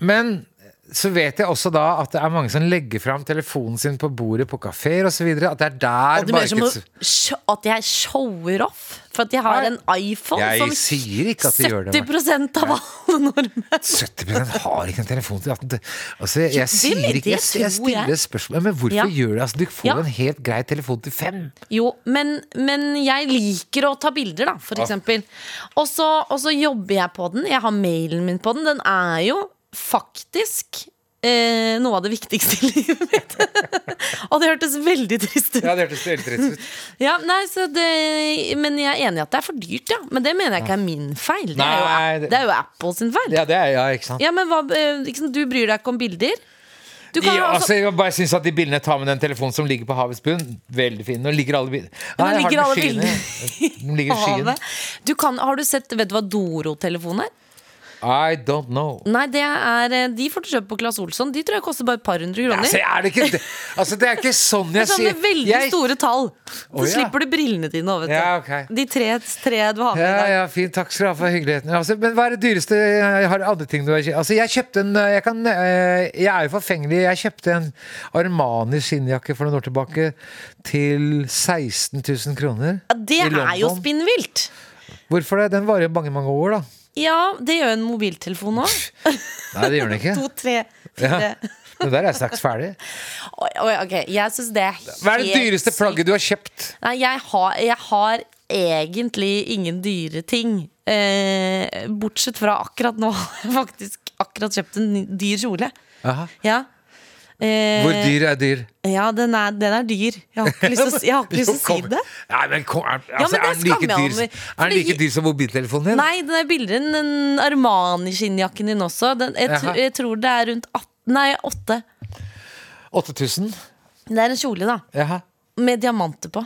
[SPEAKER 2] Men eh, så vet jeg også da at det er mange som legger fram telefonen sin på bordet på kafeer osv. At det er der
[SPEAKER 3] Og du mener som å
[SPEAKER 2] markeds...
[SPEAKER 3] sj- at jeg shower off? For at jeg har
[SPEAKER 2] Nei.
[SPEAKER 3] en iPhone
[SPEAKER 2] Jeg
[SPEAKER 3] som
[SPEAKER 2] sier ikke at de gjør det,
[SPEAKER 3] 70 av alle nordmenn
[SPEAKER 2] 70 har ikke en telefon til 18 til- Altså, jeg, sier
[SPEAKER 3] det
[SPEAKER 2] ikke, jeg, jeg
[SPEAKER 3] tror jeg.
[SPEAKER 2] stiller spørsmål Men hvorfor
[SPEAKER 3] Ja.
[SPEAKER 2] gjør det? Altså, du får
[SPEAKER 3] Ja.
[SPEAKER 2] en helt grei telefon til fem.
[SPEAKER 3] Jo, men, men jeg liker å ta bilder, da, for
[SPEAKER 2] Ah.
[SPEAKER 3] eksempel. Og så, og så jobber jeg på den. Jeg har mailen min på den. Den er jo faktisk eh, noe av det viktigste i [LAUGHS] livet mitt. og det hørtes veldig trist ut.
[SPEAKER 2] Ja, det hørtes helt rett ut.
[SPEAKER 3] Ja, nei, så det, men jeg er enig i at det er for dyrt, ja. Men det mener jeg ikke er min feil. Det er jo,
[SPEAKER 2] Nei,
[SPEAKER 3] App-
[SPEAKER 2] det-
[SPEAKER 3] det er jo Apple sin feil.
[SPEAKER 2] Ja, det er ja, ikke sant?
[SPEAKER 3] Ja, men hva, eh, liksom, du bryr deg ikke om bilder? Du kan
[SPEAKER 2] Ja,
[SPEAKER 3] ha
[SPEAKER 2] altså,
[SPEAKER 3] også,
[SPEAKER 2] jeg bare synes at De bildene jeg tar med den telefonen som ligger på havets bunn, veldig fine. Nå ligger alle bildene
[SPEAKER 3] nå
[SPEAKER 2] jeg har
[SPEAKER 3] ligger
[SPEAKER 2] den på
[SPEAKER 3] alle
[SPEAKER 2] skyene. Den ligger i skyen.
[SPEAKER 3] havet. Du kan, har du sett Vet du hva Doro-telefon er?
[SPEAKER 2] I don't know.
[SPEAKER 3] Nei, det er, eh, de får du kjøpe på Claes Olsson. De tror jeg koster bare et par hundre kroner.
[SPEAKER 2] Altså, er det ikke det? Altså, det er ikke sånn
[SPEAKER 3] Det
[SPEAKER 2] jeg
[SPEAKER 3] er sånn
[SPEAKER 2] sier
[SPEAKER 3] med veldig
[SPEAKER 2] Jeg-
[SPEAKER 3] store tall. Så
[SPEAKER 2] Å, ja.
[SPEAKER 3] slipper du brillene dine òg, vet du.
[SPEAKER 2] Ja, ok.
[SPEAKER 3] De tre, tre du har med
[SPEAKER 2] Ja,
[SPEAKER 3] i dag.
[SPEAKER 2] ja, fint. Takk skal du ha for hyggeligheten. Altså, men hva er det dyreste jeg har andre ting du har kjøpt? Altså, jeg kjøpte en eh, Jeg, kan, eh, jeg er jo forfengelig. Jeg kjøpte en Armani skinnjakke for noen år tilbake til 16 000 kroner.
[SPEAKER 3] Ja, det
[SPEAKER 2] i
[SPEAKER 3] er jo
[SPEAKER 2] London.
[SPEAKER 3] spinnvilt!
[SPEAKER 2] Hvorfor det? Den varer jo mange, mange år, da.
[SPEAKER 3] Ja, det gjør en mobiltelefon òg.
[SPEAKER 2] Nei, det gjør den ikke.
[SPEAKER 3] To, tre,
[SPEAKER 2] [LAUGHS]
[SPEAKER 3] fire
[SPEAKER 2] Men der er jeg straks ferdig.
[SPEAKER 3] Oi, oi, Ok, jeg syns det er helt
[SPEAKER 2] Hva er det dyreste plagget du har kjøpt?
[SPEAKER 3] Nei, jeg har, jeg har egentlig ingen dyre ting. Eh, bortsett fra akkurat nå [LAUGHS] har jeg faktisk akkurat kjøpt en ny- dyr kjole.
[SPEAKER 2] Aha.
[SPEAKER 3] Ja. Eh,
[SPEAKER 2] Hvor dyr er dyr?
[SPEAKER 3] Ja, den er, den er dyr. Jeg har ikke lyst til å, si- jeg har ikke
[SPEAKER 2] [LAUGHS]
[SPEAKER 3] lyst til å si det.
[SPEAKER 2] Nei, men kom, er, altså,
[SPEAKER 3] men det
[SPEAKER 2] er den like
[SPEAKER 3] skammer jeg
[SPEAKER 2] dyr,
[SPEAKER 3] meg over,
[SPEAKER 2] er den like
[SPEAKER 3] fordi-
[SPEAKER 2] dyr som mobiltelefonen din?
[SPEAKER 3] Nei, den er billigere enn den Armani-skinnjakken din også. Den, jeg, tr-
[SPEAKER 2] Jaha.
[SPEAKER 3] jeg tror det er rundt 18, nei, 8.
[SPEAKER 2] 8000?
[SPEAKER 3] Det er en kjole, da.
[SPEAKER 2] Jaha.
[SPEAKER 3] Med diamanter på.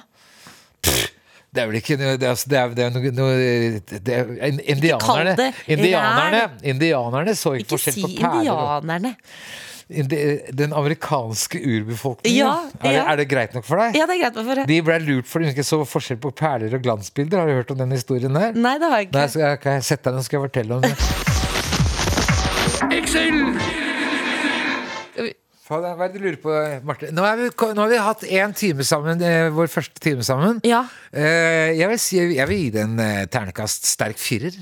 [SPEAKER 2] Det er vel ikke noe Det er, altså- det er, det er noe, noe det er, in- Indianerne
[SPEAKER 3] kall det
[SPEAKER 2] Indianerne Indianerne så ikke
[SPEAKER 3] Ikke
[SPEAKER 2] forskjell
[SPEAKER 3] si
[SPEAKER 2] på perler. og-
[SPEAKER 3] indianerne.
[SPEAKER 2] Indi- Den amerikanske urbefolkningen,
[SPEAKER 3] Ja,
[SPEAKER 2] er, det,
[SPEAKER 3] ja.
[SPEAKER 2] er det greit nok for deg?
[SPEAKER 3] Ja, det er greit. Hvorfor?
[SPEAKER 2] De ble lurt fordi de ikke så forskjell på perler og glansbilder. Har du hørt om den historien der?
[SPEAKER 3] Nei, det har jeg ikke.
[SPEAKER 2] Nei, så jeg, kan jeg sette deg ned, så skal jeg fortelle om det. Faen, Hva er det du lurer på, Marte? Nå, er vi, nå har vi hatt én time sammen, eh, vår første time sammen.
[SPEAKER 3] Ja.
[SPEAKER 2] Eh, jeg, vil si, jeg vil gi det en eh, ternekast sterk firer.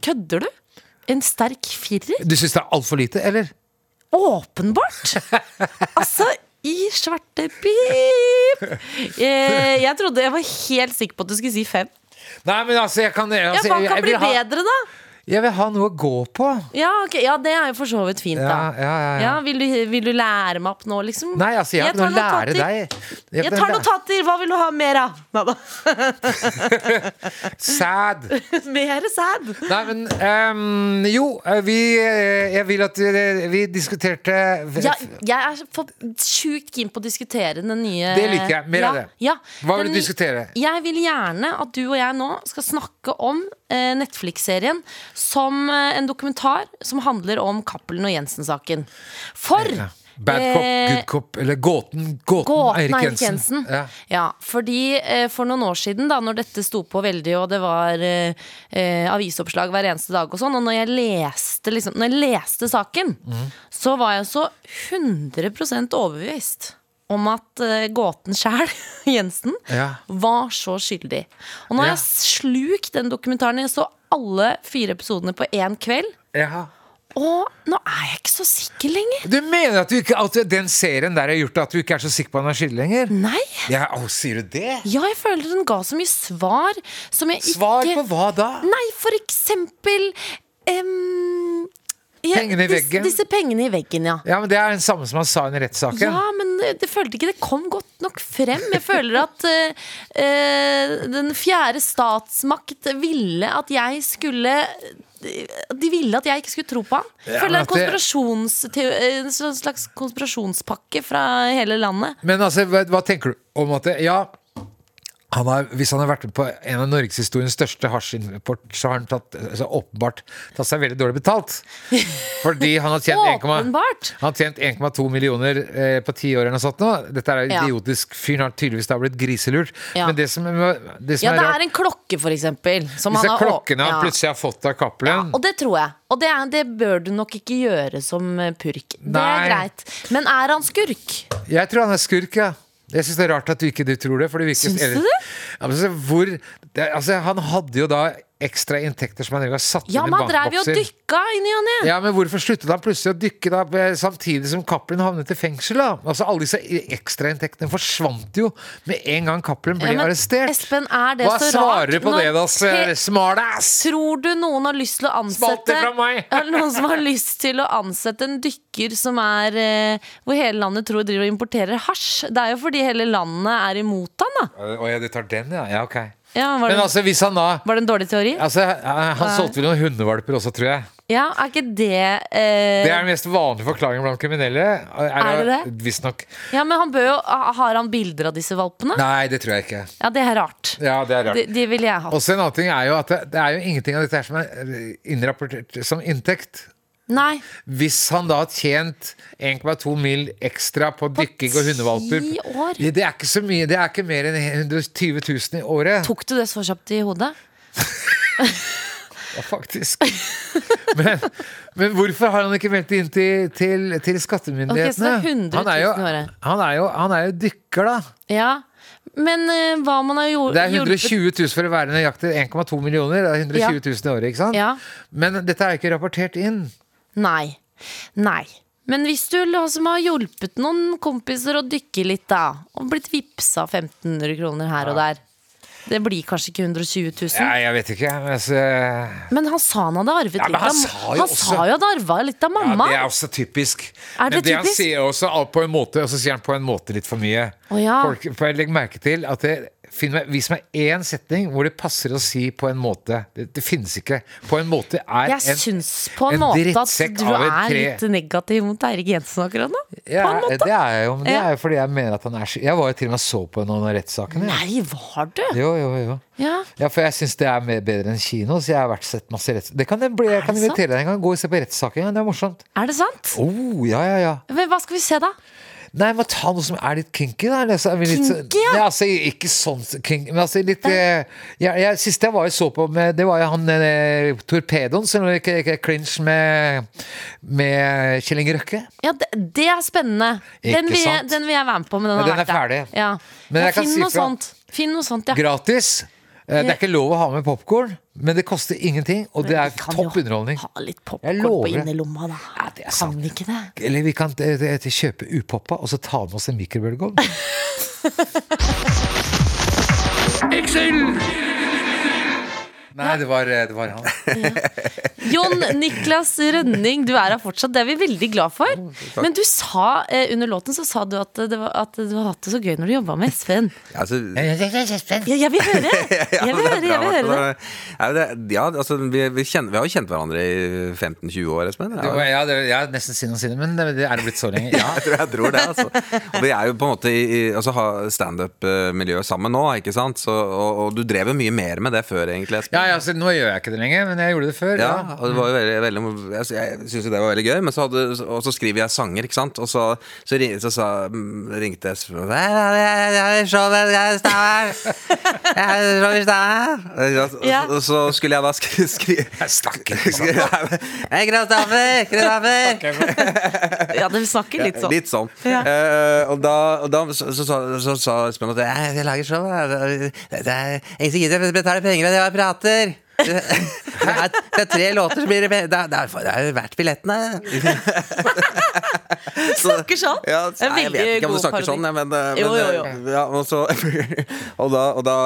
[SPEAKER 3] Kødder du? En sterk firer?
[SPEAKER 2] Du syns det er altfor lite, eller?
[SPEAKER 3] Åpenbart! Altså, i svarte pip! Eh, Jeg trodde jeg var helt sikker på at du skulle si fem.
[SPEAKER 2] Nei, men altså, jeg kan
[SPEAKER 3] Ja,
[SPEAKER 2] altså,
[SPEAKER 3] Hva
[SPEAKER 2] jeg,
[SPEAKER 3] kan
[SPEAKER 2] jeg,
[SPEAKER 3] bli
[SPEAKER 2] vil ha,
[SPEAKER 3] bedre, da?
[SPEAKER 2] jeg vil ha noe å gå på.
[SPEAKER 3] Ja, ok, ja, det er jo for så vidt fint,
[SPEAKER 2] Ja,
[SPEAKER 3] da.
[SPEAKER 2] ja, ja, ja.
[SPEAKER 3] vil, du, vil du lære meg opp nå, liksom?
[SPEAKER 2] Nei, altså, jeg har ikke noe å
[SPEAKER 3] tar
[SPEAKER 2] lære
[SPEAKER 3] notater.
[SPEAKER 2] deg.
[SPEAKER 3] Jeg tar notater! Hva vil du ha mer av? Neida.
[SPEAKER 2] Sad.
[SPEAKER 3] [LAUGHS] Mer sæd!
[SPEAKER 2] Nei, men ehm, Jo, eh, vi eh, Jeg vil at vi, vi diskuterte
[SPEAKER 3] Ja, jeg er for sjukt keen på å diskutere den nye
[SPEAKER 2] Det liker jeg. Mer
[SPEAKER 3] ja,
[SPEAKER 2] av det.
[SPEAKER 3] Ja,
[SPEAKER 2] Hva vil du
[SPEAKER 3] Den-
[SPEAKER 2] diskutere?
[SPEAKER 3] Jeg vil gjerne at du og jeg nå skal snakke om eh, Netflix-serien som eh, en dokumentar som handler om Cappelen og Jensen-saken. For
[SPEAKER 2] Ja. Bad cop,
[SPEAKER 3] eh,
[SPEAKER 2] good cop, eller gåten, gåten,
[SPEAKER 3] Gåten
[SPEAKER 2] Eirik
[SPEAKER 3] Eirik
[SPEAKER 2] Jensen.
[SPEAKER 3] Jensen.
[SPEAKER 2] Ja.
[SPEAKER 3] Ja, fordi eh, for noen år siden, da når dette sto på veldig, og det var eh, eh, avisoppslag hver eneste dag og sånn, og når jeg leste, liksom, når jeg leste saken,
[SPEAKER 2] Mhm.
[SPEAKER 3] så var jeg så 100 overbevist om at eh, gåten sjæl, [LAUGHS] Jensen,
[SPEAKER 2] Ja.
[SPEAKER 3] var så skyldig. Og nå har
[SPEAKER 2] Ja.
[SPEAKER 3] jeg slukt den dokumentaren. Jeg så alle fire episodene på én kveld.
[SPEAKER 2] Ja.
[SPEAKER 3] Og nå er jeg ikke så sikker lenger.
[SPEAKER 2] Du mener at, du ikke, at den serien der har gjort at du ikke er så sikker på at han er skyldig lenger?
[SPEAKER 3] Nei.
[SPEAKER 2] Ja, å, sier du det?
[SPEAKER 3] Ja, jeg føler den ga så mye svar som jeg ikke
[SPEAKER 2] Svar på hva da?
[SPEAKER 3] Nei, for eksempel em, ja,
[SPEAKER 2] Pengene i
[SPEAKER 3] dis-
[SPEAKER 2] veggen.
[SPEAKER 3] Disse pengene i veggen, ja.
[SPEAKER 2] Ja, men Det er den samme som han sa i den rettssaken.
[SPEAKER 3] Ja, men eh, det følte ikke det kom godt nok frem. Jeg føler at eh, eh, den fjerde statsmakt ville at jeg skulle de ville at jeg ikke skulle tro på han. Jeg
[SPEAKER 2] Ja,
[SPEAKER 3] føler det er en,
[SPEAKER 2] men at det-
[SPEAKER 3] konspirasjonsteo- en sånn slags konspirasjonspakke fra hele landet.
[SPEAKER 2] Men altså, hva, hva tenker du om at det, Ja, han har, hvis han har vært med på en av norgeshistoriens største hasjimport, så har han tatt, altså, åpenbart tatt seg veldig dårlig betalt. Fordi han har tjent 1,1
[SPEAKER 3] Åpenbart!
[SPEAKER 2] Han har tjent 1,2 millioner eh, på ti år. eller noe sånt nå. Dette er
[SPEAKER 3] Ja.
[SPEAKER 2] idiotisk. Fyren har tydeligvis da blitt griselurt.
[SPEAKER 3] Ja.
[SPEAKER 2] Men det som, er- det som
[SPEAKER 3] Ja, det
[SPEAKER 2] er
[SPEAKER 3] er
[SPEAKER 2] rart,
[SPEAKER 3] en klokke, for eksempel. Som han
[SPEAKER 2] disse
[SPEAKER 3] har å-
[SPEAKER 2] klokkene han
[SPEAKER 3] Ja.
[SPEAKER 2] plutselig har fått av Cappelen
[SPEAKER 3] Og det tror jeg. Og det, er, det bør du nok ikke gjøre som eh, purk. Det
[SPEAKER 2] Nei.
[SPEAKER 3] er greit. Men er han skurk?
[SPEAKER 2] Jeg tror han er skurk, ja. Jeg syns det er rart at du ikke du tror det. For det virker,
[SPEAKER 3] Syns du
[SPEAKER 2] eller-
[SPEAKER 3] det?
[SPEAKER 2] Altså, hvor, det, altså, han hadde jo da ekstra inntekter som han drev og satt
[SPEAKER 3] Ja,
[SPEAKER 2] inn i
[SPEAKER 3] men han drev jo og
[SPEAKER 2] bankbokser.
[SPEAKER 3] dykka i ny og ne.
[SPEAKER 2] Ja, men Hvorfor sluttet han plutselig å dykke da eh, samtidig som Cappelen havnet i fengsel? da? Altså Alle disse ekstrainntektene forsvant jo med en gang Cappelen ble
[SPEAKER 3] Ja, men
[SPEAKER 2] arrestert.
[SPEAKER 3] Espen, er det
[SPEAKER 2] Hva
[SPEAKER 3] så
[SPEAKER 2] svarer
[SPEAKER 3] rart
[SPEAKER 2] du på
[SPEAKER 3] når-
[SPEAKER 2] det, da, s-
[SPEAKER 3] He-
[SPEAKER 2] smartass?
[SPEAKER 3] Tror du noen har lyst til å
[SPEAKER 2] Smalt
[SPEAKER 3] ansette
[SPEAKER 2] det fra
[SPEAKER 3] [LAUGHS]
[SPEAKER 2] meg.
[SPEAKER 3] Er det noen som har lyst til å ansette en dykker som er eh, Hvor hele landet tror driver og importerer hasj? Det er jo fordi hele landet er imot han, da.
[SPEAKER 2] Å ja, du tar den, ja. Ja, ok.
[SPEAKER 3] Ja, var,
[SPEAKER 2] Men
[SPEAKER 3] det,
[SPEAKER 2] altså, hvis han da
[SPEAKER 3] var det en dårlig teori?
[SPEAKER 2] Altså, eh, Han solgte vel noen hundevalper også, tror jeg.
[SPEAKER 3] Ja, er ikke det eh,
[SPEAKER 2] Det er den mest vanlige forklaringen blant kriminelle.
[SPEAKER 3] Er det det?
[SPEAKER 2] Visstnok.
[SPEAKER 3] Ja, men han bør jo Har han bilder av disse valpene?
[SPEAKER 2] Nei, det tror jeg ikke.
[SPEAKER 3] Ja, det er rart.
[SPEAKER 2] Ja, det er rart.
[SPEAKER 3] De, de ville jeg hatt.
[SPEAKER 2] Også en annen ting er jo at det, det er jo ingenting av dette her som er eh, innrapportert som inntekt.
[SPEAKER 3] Nei.
[SPEAKER 2] Hvis han da har tjent 1,2 mil ekstra på dykking og hundevalper
[SPEAKER 3] ti år?
[SPEAKER 2] Det det er ikke så mye. Det er ikke mer enn 120 000 i året,
[SPEAKER 3] Tok du det så kjapt i hodet?
[SPEAKER 2] ja, faktisk. Men, men hvorfor har han ikke meldt det inn til, til, til
[SPEAKER 3] Ok, så det
[SPEAKER 2] skattemyndighetene?
[SPEAKER 3] er 100 000
[SPEAKER 2] han, er jo,
[SPEAKER 3] i året.
[SPEAKER 2] han, er jo, han er jo dykker, da.
[SPEAKER 3] Ja. Men eh, hva man har gjort
[SPEAKER 2] Det er 120 000 for å være nøyaktig 1,2 millioner. Det er 120 000 i året, ikke sant?
[SPEAKER 3] Ja.
[SPEAKER 2] Men dette er jo ikke rapportert inn.
[SPEAKER 3] Nei. Nei. Men hvis du la- som har hjulpet noen kompiser å dykke litt, da, og blitt vippsa 1500 kroner her og der Det blir kanskje ikke 120 000.
[SPEAKER 2] Nei, jeg vet ikke. Men altså, ja,
[SPEAKER 3] Men han sa han hadde arvet
[SPEAKER 2] Ja, men
[SPEAKER 3] litt av
[SPEAKER 2] han sa jo
[SPEAKER 3] Han
[SPEAKER 2] også-
[SPEAKER 3] sa jo at han arva litt av mamma!
[SPEAKER 2] det
[SPEAKER 3] Å
[SPEAKER 2] er også typisk.
[SPEAKER 3] Er det
[SPEAKER 2] men det han
[SPEAKER 3] typisk?
[SPEAKER 2] sier også alt på en måte, og så sier han på en måte litt for mye.
[SPEAKER 3] Å, ja.
[SPEAKER 2] Folk, for jeg legger merke til at det, finn meg, Vis meg én setning hvor det passer å si 'på en måte'. Det, det finnes ikke. 'På en måte' er
[SPEAKER 3] Jeg syns på en, måte at
[SPEAKER 2] drittsekk
[SPEAKER 3] du
[SPEAKER 2] av et
[SPEAKER 3] er
[SPEAKER 2] tre.
[SPEAKER 3] litt negativ mot Eirik Jensen akkurat nå. på
[SPEAKER 2] Ja,
[SPEAKER 3] en måte.
[SPEAKER 2] Det er jeg jo, men det
[SPEAKER 3] Ja.
[SPEAKER 2] er jo fordi jeg mener at han er sky- Jeg var jo til og med og så på noen av rettssakene. jeg.
[SPEAKER 3] Nei, var du?
[SPEAKER 2] Jo, jo, jo.
[SPEAKER 3] Ja.
[SPEAKER 2] Ja, for jeg syns det er mer bedre enn kino, så jeg har vært sett masse retts... Det kan jeg, bli, jeg
[SPEAKER 3] Er
[SPEAKER 2] kan
[SPEAKER 3] det sant?
[SPEAKER 2] invitere deg en gang. Gå og se på rettssaken. Ja, det er morsomt.
[SPEAKER 3] Er det sant?
[SPEAKER 2] Oh, ja, ja, ja.
[SPEAKER 3] Men hva skal vi se, da?
[SPEAKER 2] Nei, men ta noe som er litt kinky, da. eller så er vi litt, så-
[SPEAKER 3] Kinky, ja?
[SPEAKER 2] Nei, altså, ikke sånn kinky, men altså litt eh, jeg, jeg, Siste jeg var og så på med, det var jo han eh, torpedoen som gikk i clinch med, med Kjell Inge Røkke.
[SPEAKER 3] Ja, det, det er spennende.
[SPEAKER 2] Ikke
[SPEAKER 3] Den vil, jeg,
[SPEAKER 2] sant?
[SPEAKER 3] den vil jeg være med på. Men den,
[SPEAKER 2] Ja,
[SPEAKER 3] har
[SPEAKER 2] den er
[SPEAKER 3] vært der.
[SPEAKER 2] ferdig.
[SPEAKER 3] Ja.
[SPEAKER 2] Men
[SPEAKER 3] ja,
[SPEAKER 2] jeg kan
[SPEAKER 3] finn
[SPEAKER 2] si
[SPEAKER 3] noe
[SPEAKER 2] fra-
[SPEAKER 3] sånn. Finn noe sånt, ja.
[SPEAKER 2] Gratis. Eh, Det er ikke lov å ha med popkorn, men det koster ingenting, og det
[SPEAKER 3] Men
[SPEAKER 2] er
[SPEAKER 3] vi kan
[SPEAKER 2] topp
[SPEAKER 3] jo
[SPEAKER 2] underholdning.
[SPEAKER 3] Ha litt
[SPEAKER 2] Jeg
[SPEAKER 3] popkorn på
[SPEAKER 2] lover det.
[SPEAKER 3] innerlomma, da. Ja, det er sant. Kan ikke det.
[SPEAKER 2] Eller vi kan eh, eh, kjøpe upoppa, og så ta med oss en mikrobølgeovn. Nei, det var, eh, det var han.
[SPEAKER 3] Jon Niklas Rønning, du er her fortsatt. Det er vi veldig glad for. Men du sa, eh, under låten så sa du at, det var, at du har hatt det så gøy når du jobba med Espen.
[SPEAKER 5] Altså,
[SPEAKER 3] Ja, jeg vil høre! Jeg vil høre, jeg vil høre det.
[SPEAKER 5] Ja, det, ja altså, vi, vi, kjenner, vi har jo kjent hverandre i 15-20 år, Espen.
[SPEAKER 2] Det var,
[SPEAKER 5] Ja.
[SPEAKER 2] ja, det, jeg er nesten siden og siden, men det, det er det blitt så lenge. Ja.
[SPEAKER 5] Jeg tror jeg tror det, altså. Og vi er jo på en måte i, i altså, har standup-miljøet sammen nå, ikke sant? Så, og, og du drev jo mye mer med det før, egentlig, Espen.
[SPEAKER 2] Ja, ja, så nå gjør jeg ikke det lenger, men jeg gjorde det før.
[SPEAKER 5] Ja, og det var jo veldig, veldig altså, Jeg, jeg syntes jo det var veldig gøy, men så, hadde, og så skriver jeg sanger, ikke sant? Og så, så, ring, så, sa, mm, ringte Espen og sa, «Jeg- jeg- jeg- showet
[SPEAKER 2] [LAUGHS]
[SPEAKER 5] er Stavanger. Jeg- showet er Stavanger». Og
[SPEAKER 3] Ja.
[SPEAKER 5] så- Og så skulle jeg da skrive skri,
[SPEAKER 2] Jeg snakker ikke sånn.
[SPEAKER 5] [LAUGHS] skri, «Hei, Kristoffer! Kristoffer!»
[SPEAKER 3] Ja, dere snakker litt sånn.
[SPEAKER 5] Litt sånn. Eh, og da, og da så, så, så, så sa Espen at jeg, jeg lager show. jeg- Det det er ingen som gidder å betale penger når jeg prater. [LAUGHS] Det er, det er tre låter, så blir det penger. Det er- det er- det er jo verdt billettene.
[SPEAKER 3] Snakker sånn.
[SPEAKER 5] Ja,
[SPEAKER 3] Det er
[SPEAKER 5] nei, jeg vet
[SPEAKER 3] veldig
[SPEAKER 5] ikke om du
[SPEAKER 3] god
[SPEAKER 5] snakker sånn,
[SPEAKER 3] parodi.
[SPEAKER 5] jeg, men, eh, men
[SPEAKER 3] Jo, jo, jo.
[SPEAKER 5] eh, Ja, og, så, [LAUGHS] og da, og da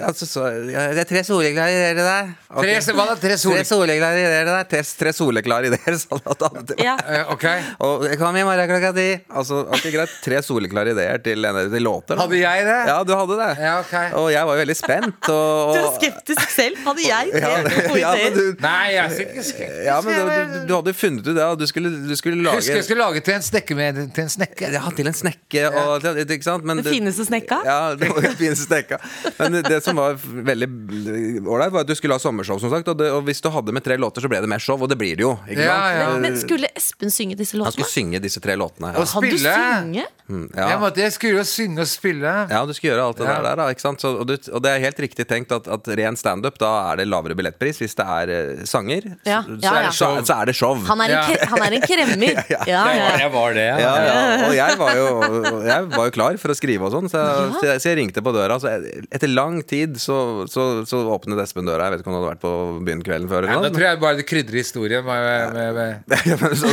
[SPEAKER 5] ja, så, så, ja, Det er tre soleklare ideer i deg. Ok.
[SPEAKER 2] Tre so- hva da? Tre sole-
[SPEAKER 5] Tre soleklare ideer i deg. Tre, tre soleklare ideer, [LAUGHS] sa han at han til meg.
[SPEAKER 3] Ja.
[SPEAKER 2] Eh, ok.
[SPEAKER 5] Og jeg kom i morgen klokka ti. Altså, ok, greit. Tre soleklare ideer til, en- til låter. da.
[SPEAKER 2] Hadde jeg det?
[SPEAKER 5] Ja, du hadde det.
[SPEAKER 2] Ja, ok.
[SPEAKER 5] Og jeg var jo veldig spent.
[SPEAKER 3] [LAUGHS]
[SPEAKER 5] Og,
[SPEAKER 3] Du er
[SPEAKER 5] og,
[SPEAKER 3] skeptisk selv. Hadde jeg
[SPEAKER 5] ja,
[SPEAKER 3] [LAUGHS] drevet med
[SPEAKER 5] ja, men
[SPEAKER 3] ideer?
[SPEAKER 5] du,
[SPEAKER 2] Nei, jeg er ikke skeptisk.
[SPEAKER 5] ja, men du, du, du hadde jo funnet ut det, og du skulle, du skulle lage
[SPEAKER 2] Husker jeg skulle lage til en snekke med til en snekke.
[SPEAKER 5] Ja, til en snekke og til, ikke sant? Men
[SPEAKER 3] Det fineste snekka?
[SPEAKER 5] Ja, det var den [LAUGHS] fineste snekka. Men det som var veldig ålreit, var at du skulle ha sommershow, som sagt. Og, det, og hvis du hadde med tre låter, så ble det mer show, og det blir det jo. Ikke
[SPEAKER 2] Ja,
[SPEAKER 5] sant?
[SPEAKER 2] ja.
[SPEAKER 3] Men, men skulle Espen synge disse
[SPEAKER 5] Han
[SPEAKER 3] låtene?
[SPEAKER 5] skulle synge disse tre låtene.
[SPEAKER 2] Og
[SPEAKER 5] Ja,
[SPEAKER 3] Kan du
[SPEAKER 2] spille.
[SPEAKER 3] synge?
[SPEAKER 5] Mm,
[SPEAKER 2] Jeg,
[SPEAKER 5] ja.
[SPEAKER 2] måtte, jeg skulle jo synge og spille.
[SPEAKER 5] ja du skulle gjøre alt det
[SPEAKER 2] Ja.
[SPEAKER 5] der, da. Ikke sant? Så, og, du, og det er helt riktig tenkt at, at ren standup, da er det lavere billettpris hvis det er eh, sanger.
[SPEAKER 3] Ja,
[SPEAKER 5] Så,
[SPEAKER 3] ja,
[SPEAKER 5] så, er
[SPEAKER 3] ja.
[SPEAKER 5] det show, så er det show.
[SPEAKER 3] Han er en,
[SPEAKER 2] Ja.
[SPEAKER 3] kre- han er en kremmer.
[SPEAKER 5] [LAUGHS]
[SPEAKER 3] Ja, ja, ja.
[SPEAKER 2] Jeg var det,
[SPEAKER 5] Ja,
[SPEAKER 3] [LAUGHS]
[SPEAKER 5] ja. Og jeg var, jo, jeg var jo klar for å skrive og sånn, så, jeg-
[SPEAKER 3] Ja.
[SPEAKER 5] så, jeg- så jeg ringte på døra. Så jeg- etter lang tid så, så, så åpnet Espen døra. Jeg vet ikke om du hadde vært på byen kvelden før.
[SPEAKER 2] Nei, da
[SPEAKER 5] Eller noe.
[SPEAKER 2] tror jeg bare du krydrer historien med, med, med.
[SPEAKER 5] [LAUGHS] Ja, men så,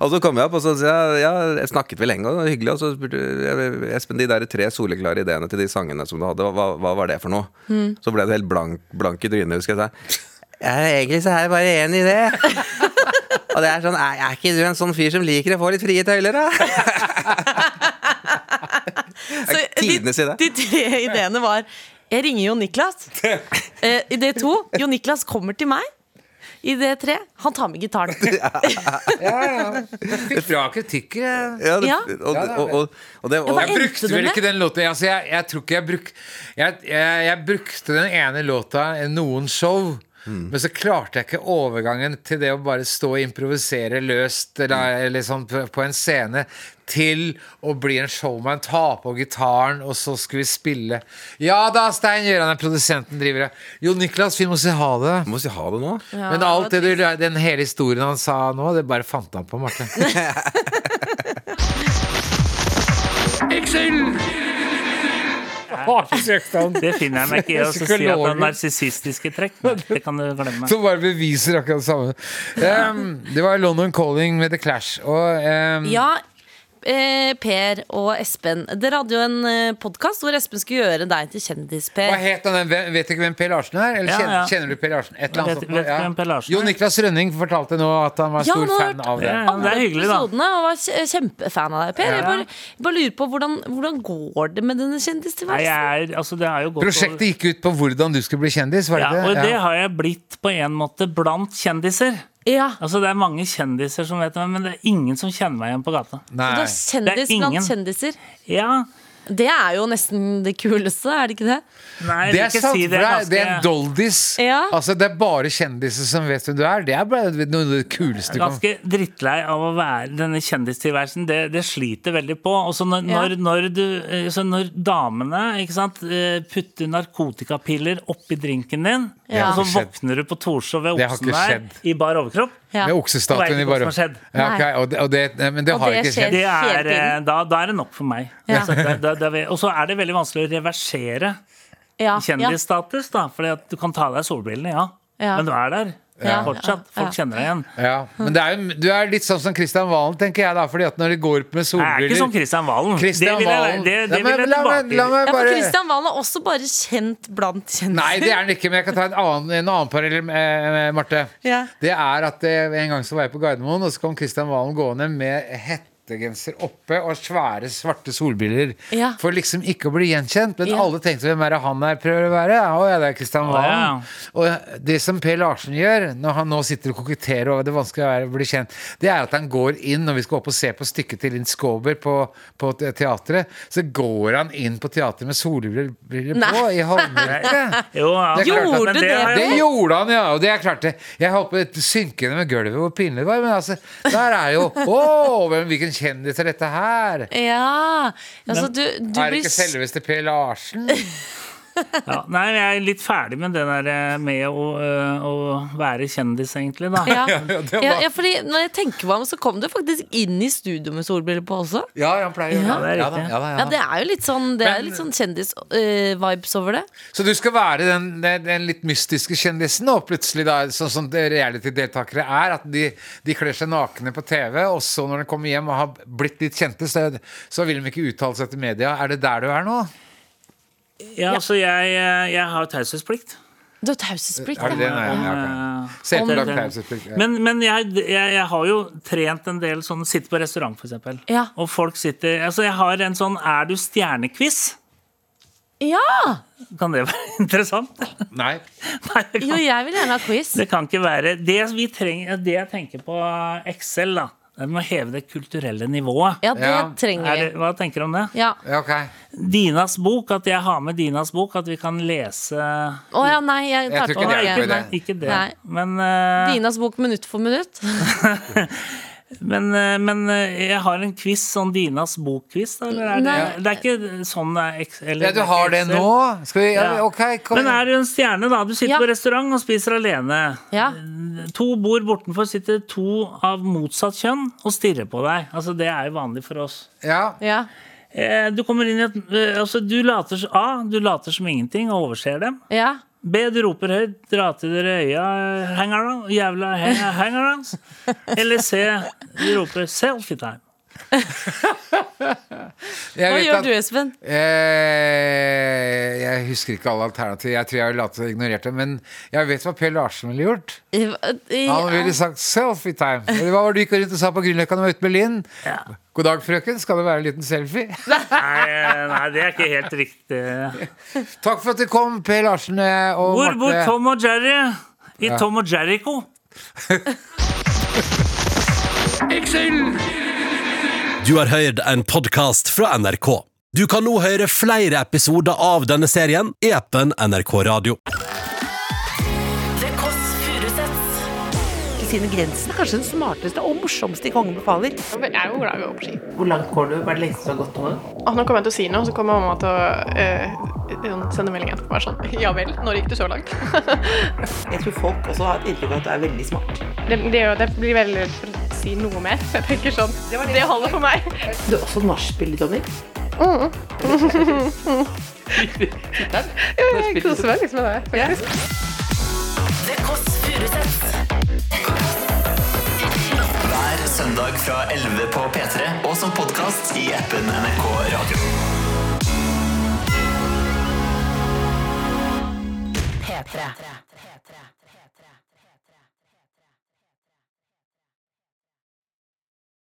[SPEAKER 5] og så [LAUGHS] kom jeg opp, og så sa jeg ja, jeg snakket vi lenge, og det var hyggelig. Og så spurte jeg Espen, de der tre soleklare ideene til de sangene som du hadde, hva, hva var det for noe? Så ble det helt blank, blank i trynet, husker jeg. Så, jeg, ja, egentlig så er det [LAUGHS] bare én idé. Og det er sånn, er, er ikke du en sånn fyr som liker å få litt frie tøyler, da?
[SPEAKER 3] Så
[SPEAKER 5] Tidenes idé.
[SPEAKER 3] eh, De, de tre ideene var Jeg ringer Jo Niklas.
[SPEAKER 5] [LAUGHS]
[SPEAKER 3] Eh, I det to, Jo Niklas kommer til meg. I det tre, han tar med gitaren.
[SPEAKER 5] [LAUGHS]
[SPEAKER 2] Ja, ja. Fikk bra kritikk. eh.
[SPEAKER 5] Ja, det,
[SPEAKER 3] Ja.
[SPEAKER 5] Og, og, og, og det, og,
[SPEAKER 3] hva
[SPEAKER 2] Jeg
[SPEAKER 3] endte
[SPEAKER 2] brukte
[SPEAKER 3] det
[SPEAKER 2] vel
[SPEAKER 3] med?
[SPEAKER 2] ikke den låta. Altså, jeg, jeg tror ikke jeg, bruk, jeg, jeg, jeg brukte den ene låta i noen show.
[SPEAKER 3] Mm.
[SPEAKER 2] Men så klarte jeg ikke overgangen til det å bare stå og improvisere løst
[SPEAKER 3] Mm.
[SPEAKER 2] eller, eller sånn på, på en scene, til å bli en showman, ta på gitaren, og så skulle vi spille. Ja da, Stein Gjøran er produsenten, driver jeg. Jo Niklas, vi må si ha det.
[SPEAKER 5] må vi si ha det nå?
[SPEAKER 2] Men alt det du, den hele historien han sa nå, det bare fant han på,
[SPEAKER 6] [LAUGHS]
[SPEAKER 2] Marte.
[SPEAKER 6] Det finner jeg meg ikke i. Og så sier jeg at det er
[SPEAKER 2] Psykologen.
[SPEAKER 6] narsissistiske trekk. Nei, Det kan du glemme.
[SPEAKER 2] [LAUGHS] Som bare beviser akkurat det samme. Ehm, det var London Calling med The Clash. Og ehm,
[SPEAKER 3] Ja, eh, Per og Espen. Dere hadde jo en eh, podkast hvor Espen skulle gjøre deg til kjendis,
[SPEAKER 2] hva
[SPEAKER 3] Per.
[SPEAKER 2] het han den? Hvem- Vet du ikke hvem Per Larsen er? Eller
[SPEAKER 6] Ja,
[SPEAKER 2] kjenner,
[SPEAKER 6] ja.
[SPEAKER 2] kjenner du Per Larsen? Et eller annet
[SPEAKER 6] Vet-
[SPEAKER 2] sånt nå,
[SPEAKER 6] vet du hvem Per Larsen er?
[SPEAKER 2] Jo Niklas Rønning fortalte nå at han var
[SPEAKER 3] Ja,
[SPEAKER 2] stor
[SPEAKER 3] han har
[SPEAKER 2] fan
[SPEAKER 3] hørt-
[SPEAKER 2] av det.
[SPEAKER 6] Ja, ja, det er hyggelig, da.
[SPEAKER 3] Episodene, og var kje- kjempefan av deg, Per. Jeg
[SPEAKER 6] Ja.
[SPEAKER 3] bare, bare lurer på hvordan, hvordan går det med denne
[SPEAKER 6] Nei,
[SPEAKER 3] kjendistilværelsen?
[SPEAKER 6] jeg er, altså, det er jo godt å-
[SPEAKER 2] Prosjektet gikk ut på hvordan du skulle bli kjendis, var det
[SPEAKER 6] ja, og
[SPEAKER 2] det?
[SPEAKER 6] det
[SPEAKER 2] Ja.
[SPEAKER 6] har jeg blitt på en måte blant kjendiser.
[SPEAKER 3] Ja.
[SPEAKER 6] Altså, det er mange kjendiser som vet hvem, men det er ingen som kjenner meg igjen på gata.
[SPEAKER 3] Du
[SPEAKER 2] Nei.
[SPEAKER 3] er kjendis
[SPEAKER 6] Det er ingen.
[SPEAKER 3] blant kjendiser.
[SPEAKER 6] Ja,
[SPEAKER 3] Det er jo nesten det kuleste, er det ikke det?
[SPEAKER 2] Det
[SPEAKER 6] nei, jeg vil
[SPEAKER 2] er
[SPEAKER 6] ikke
[SPEAKER 2] sant,
[SPEAKER 6] si
[SPEAKER 2] for det er, det er en
[SPEAKER 6] ganske,
[SPEAKER 2] doldis.
[SPEAKER 3] Ja.
[SPEAKER 2] Altså, det er bare kjendiser som vet hvem du er. Det er bare noe av det kuleste du kan
[SPEAKER 6] ganske drittlei av å være denne kjendistilværelsen. Det, det sliter veldig på. Og så når,
[SPEAKER 3] Ja.
[SPEAKER 6] når, når, du, eh, så når damene ikke sant, eh, putter narkotikapiller oppi drinken din,
[SPEAKER 3] Ja.
[SPEAKER 6] og
[SPEAKER 2] Det
[SPEAKER 6] så
[SPEAKER 2] har ikke
[SPEAKER 6] våkner du på Torshov ved
[SPEAKER 2] Det har
[SPEAKER 6] Oksen
[SPEAKER 2] ikke
[SPEAKER 6] der
[SPEAKER 2] skjedd.
[SPEAKER 6] i bar overkropp
[SPEAKER 3] Ja.
[SPEAKER 2] Med
[SPEAKER 6] Du
[SPEAKER 2] oksestatuen
[SPEAKER 6] vet
[SPEAKER 2] i
[SPEAKER 6] ikke hva
[SPEAKER 2] bare
[SPEAKER 6] som har skjedd.
[SPEAKER 2] Ja, ok,
[SPEAKER 3] Nei.
[SPEAKER 2] og det, og det, Men det
[SPEAKER 3] Og
[SPEAKER 2] har
[SPEAKER 3] det
[SPEAKER 2] ikke
[SPEAKER 3] skjer.
[SPEAKER 2] skjedd.
[SPEAKER 6] det
[SPEAKER 3] hele
[SPEAKER 6] er, eh,
[SPEAKER 3] tiden.
[SPEAKER 6] da, da er det nok for meg.
[SPEAKER 3] Ja.
[SPEAKER 6] Så da- da- da- Og så er det veldig vanskelig å reversere
[SPEAKER 3] Ja,
[SPEAKER 6] kjendisstatus, da. Fordi at du kan ta av deg solbrillene, ja.
[SPEAKER 3] Ja.
[SPEAKER 6] Men du er der
[SPEAKER 3] Ja.
[SPEAKER 6] fortsatt. Folk
[SPEAKER 3] Ja.
[SPEAKER 6] kjenner deg igjen.
[SPEAKER 2] Ja, men det er jo, du er litt sånn som Kristian Valen, tenker jeg da. Fordi at når de går med
[SPEAKER 6] Jeg er ikke som
[SPEAKER 2] solbriller
[SPEAKER 6] Kristian Valen.
[SPEAKER 2] Kristian
[SPEAKER 6] det vil jeg,
[SPEAKER 2] Valen
[SPEAKER 6] være- det, det
[SPEAKER 2] Nei, men
[SPEAKER 6] vil jeg
[SPEAKER 2] la meg-
[SPEAKER 6] tilbake
[SPEAKER 2] la
[SPEAKER 3] Ja,
[SPEAKER 2] meg
[SPEAKER 3] for
[SPEAKER 2] bare-
[SPEAKER 3] Kristian Valen er også bare kjent blant kjendiser.
[SPEAKER 2] Nei, det er den ikke, men jeg kan ta en annen, en annen parallell, eh, eh, Marte.
[SPEAKER 3] Ja.
[SPEAKER 2] Det er at eh, en gang så var jeg på Gardermoen, og så kom Kristian Valen gående med hettegenser oppe og svære, svarte solbriller.
[SPEAKER 3] Ja.
[SPEAKER 2] For liksom ikke å bli gjenkjent. Men
[SPEAKER 3] Ja.
[SPEAKER 2] alle tenkte hvem er det han her prøver å være? Å ja, det er Kristian Valen.
[SPEAKER 6] ja.
[SPEAKER 2] Og det som Per Larsen gjør, når han nå sitter og koketterer over det vanskelige å være- bli kjent, det er at han går inn, når vi skal opp og se på stykket til Linn Skåber på, på te- teatret, så går han inn på teatret med solbriller på
[SPEAKER 3] Nei.
[SPEAKER 2] i håndbrekket.
[SPEAKER 6] Jo, ja.
[SPEAKER 2] Det er klart at-
[SPEAKER 3] Gjorde
[SPEAKER 6] Men det
[SPEAKER 3] dere
[SPEAKER 6] har
[SPEAKER 2] Det
[SPEAKER 6] jeg-
[SPEAKER 2] gjorde han, ja. Og det er klart det. Jeg holdt på å synke ned med gulvet hvor pinlig det var. Men altså, der er jo Å, hvem- hvilken kjendis er dette her?
[SPEAKER 3] Ja, altså du, du
[SPEAKER 2] Er det
[SPEAKER 3] blir
[SPEAKER 2] ikke
[SPEAKER 3] s-
[SPEAKER 2] selveste Per Larsen?
[SPEAKER 6] Ja. Nei, jeg er litt ferdig med det der eh, med å, øh, å være kjendis, egentlig, da.
[SPEAKER 2] [LAUGHS]
[SPEAKER 3] ja.
[SPEAKER 2] det var-
[SPEAKER 3] ja, ja, fordi når jeg tenker meg om, så kom du faktisk inn i studio med solbriller på også.
[SPEAKER 2] Ja, han pleier å
[SPEAKER 6] Ja,
[SPEAKER 2] gjøre
[SPEAKER 6] det er
[SPEAKER 2] Ja da,
[SPEAKER 6] riktig.
[SPEAKER 2] ja da, ja
[SPEAKER 3] Ja,
[SPEAKER 2] da.
[SPEAKER 3] det er jo litt sånn, det er litt sånn kjendis-vibes over det.
[SPEAKER 2] Så du skal være den, den, den litt mystiske kjendisen, og plutselig, da, sånn som det reality-deltakere er, at de, de kler seg nakne på TV, og så når de kommer hjem og har blitt litt kjente, så, så vil de ikke uttale seg til media. Er det der du er nå?
[SPEAKER 6] [LAUGHS] Ja, altså, jeg, eh, jeg har taushetsplikt.
[SPEAKER 3] Du har taushetsplikt,
[SPEAKER 2] Er det det?
[SPEAKER 3] ja.
[SPEAKER 2] Nei, ja, ok.
[SPEAKER 6] Eh,
[SPEAKER 2] Selvpålagt
[SPEAKER 6] Om-
[SPEAKER 2] taushetsplikt, ja.
[SPEAKER 6] Men, men jeg, jeg, jeg har jo trent en del sånn Sitte på restaurant, for eksempel.
[SPEAKER 3] Ja.
[SPEAKER 6] Og folk sitter Altså, jeg har en sånn Er du stjernekviss?
[SPEAKER 3] [LAUGHS] Ja!
[SPEAKER 6] Kan det [LAUGHS] være interessant?
[SPEAKER 2] Nei.
[SPEAKER 6] Nei, det
[SPEAKER 3] Jo,
[SPEAKER 6] kan,
[SPEAKER 3] jeg vil gjerne ha quiz.
[SPEAKER 6] det kan ikke være det, vi trenger, det jeg tenker på eh, Excel, da. Vi må heve det kulturelle nivået.
[SPEAKER 3] Ja, det
[SPEAKER 2] Ja.
[SPEAKER 6] Er
[SPEAKER 3] trenger
[SPEAKER 6] det,
[SPEAKER 3] vi.
[SPEAKER 6] hva tenker du om det?
[SPEAKER 3] Ja.
[SPEAKER 2] Ja, Ok.
[SPEAKER 6] Dinas bok, at jeg har med Dinas bok, at vi kan lese Å,
[SPEAKER 3] Å ja, nei, jeg
[SPEAKER 2] Jeg tror
[SPEAKER 3] klarte
[SPEAKER 2] ikke det er
[SPEAKER 3] ikke
[SPEAKER 2] noe
[SPEAKER 6] ikke,
[SPEAKER 2] i
[SPEAKER 3] det.
[SPEAKER 6] nei, ikke det.
[SPEAKER 3] Nei.
[SPEAKER 6] Men, eh,
[SPEAKER 3] Dinas bok minutt for minutt.
[SPEAKER 6] men, eh, men eh, jeg har en quiz, sånn Dinas bok-quiz, da, eller er det
[SPEAKER 3] Nei.
[SPEAKER 6] Det er ikke sånn det er Excel- eller
[SPEAKER 2] Ja, du
[SPEAKER 6] er ikke
[SPEAKER 2] har det
[SPEAKER 6] Excel.
[SPEAKER 2] nå? Skal vi, ja,
[SPEAKER 6] Ja.
[SPEAKER 2] ok, kom
[SPEAKER 6] Men
[SPEAKER 2] igjen.
[SPEAKER 6] er du en stjerne, da? Du sitter
[SPEAKER 3] Ja.
[SPEAKER 6] på restaurant og spiser alene.
[SPEAKER 3] Ja.
[SPEAKER 6] To bord bortenfor sitter to av motsatt kjønn og stirrer på deg. Altså, det er jo vanlig for oss.
[SPEAKER 2] Ja.
[SPEAKER 3] Ja.
[SPEAKER 6] Eh, du kommer inn i et eh, altså, du later, s- A. Du later som ingenting og overser dem.
[SPEAKER 3] ja.
[SPEAKER 6] B. Du roper høyt. Dra til dere øya. Hang around. Jævla hang hang arounds. Eller C. Du roper selfie time.
[SPEAKER 2] Jeg
[SPEAKER 3] Hva
[SPEAKER 2] vet
[SPEAKER 3] gjør
[SPEAKER 2] at-
[SPEAKER 3] du, Espen?
[SPEAKER 2] Eh, jeg husker ikke alle alternativer. Jeg tror jeg ville latt ignorert det. Men jeg vet hva Per Larsen ville gjort.
[SPEAKER 3] I, i,
[SPEAKER 2] Han ville sagt 'selfie time'. Eller hva var det du gikk rundt og sa på Grünerløkka da du var ute med Linn? God dag, frøken. Skal det være en liten selfie?
[SPEAKER 6] Nei, eh, nei, det er ikke helt riktig.
[SPEAKER 2] Takk for at du kom, Per Larsen eh, og
[SPEAKER 6] Hvor bor
[SPEAKER 2] Marte.
[SPEAKER 6] Tom og Jerry? I Tom og Jerrico.
[SPEAKER 7] Du har hørt en podkast fra NRK. Du kan nå høre flere episoder av denne serien i appen NRK Radio.
[SPEAKER 8] Det Kåss Furuseths.
[SPEAKER 9] Sine grenser er kanskje den smarteste og morsomste i Kongen befaler.
[SPEAKER 10] Jeg er jo glad i å gå på ski.
[SPEAKER 9] Hvor langt går du? Hva er det lengste du har gått nå?
[SPEAKER 10] Og nå kommer jeg til å si noe, så kommer mamma til å eh, sende melding etterpå. Bare sånn Ja vel, når gikk du så langt? [LAUGHS]
[SPEAKER 9] Jeg tror folk også har et inntrykk av at du er veldig smart.
[SPEAKER 10] det, det, det blir veldig for å si noe mer. [LAUGHS] Så jeg tenker sånn Det, holder for meg. Mm.
[SPEAKER 9] Du er også nachspieler, Tommy. [LAUGHS]
[SPEAKER 10] [LAUGHS] Jeg koser meg liksom med det. faktisk.
[SPEAKER 8] Det Kåss Furuseths.
[SPEAKER 11] Hver søndag fra 11 på P3 og som podkast i appen NRK Radio.
[SPEAKER 8] P3.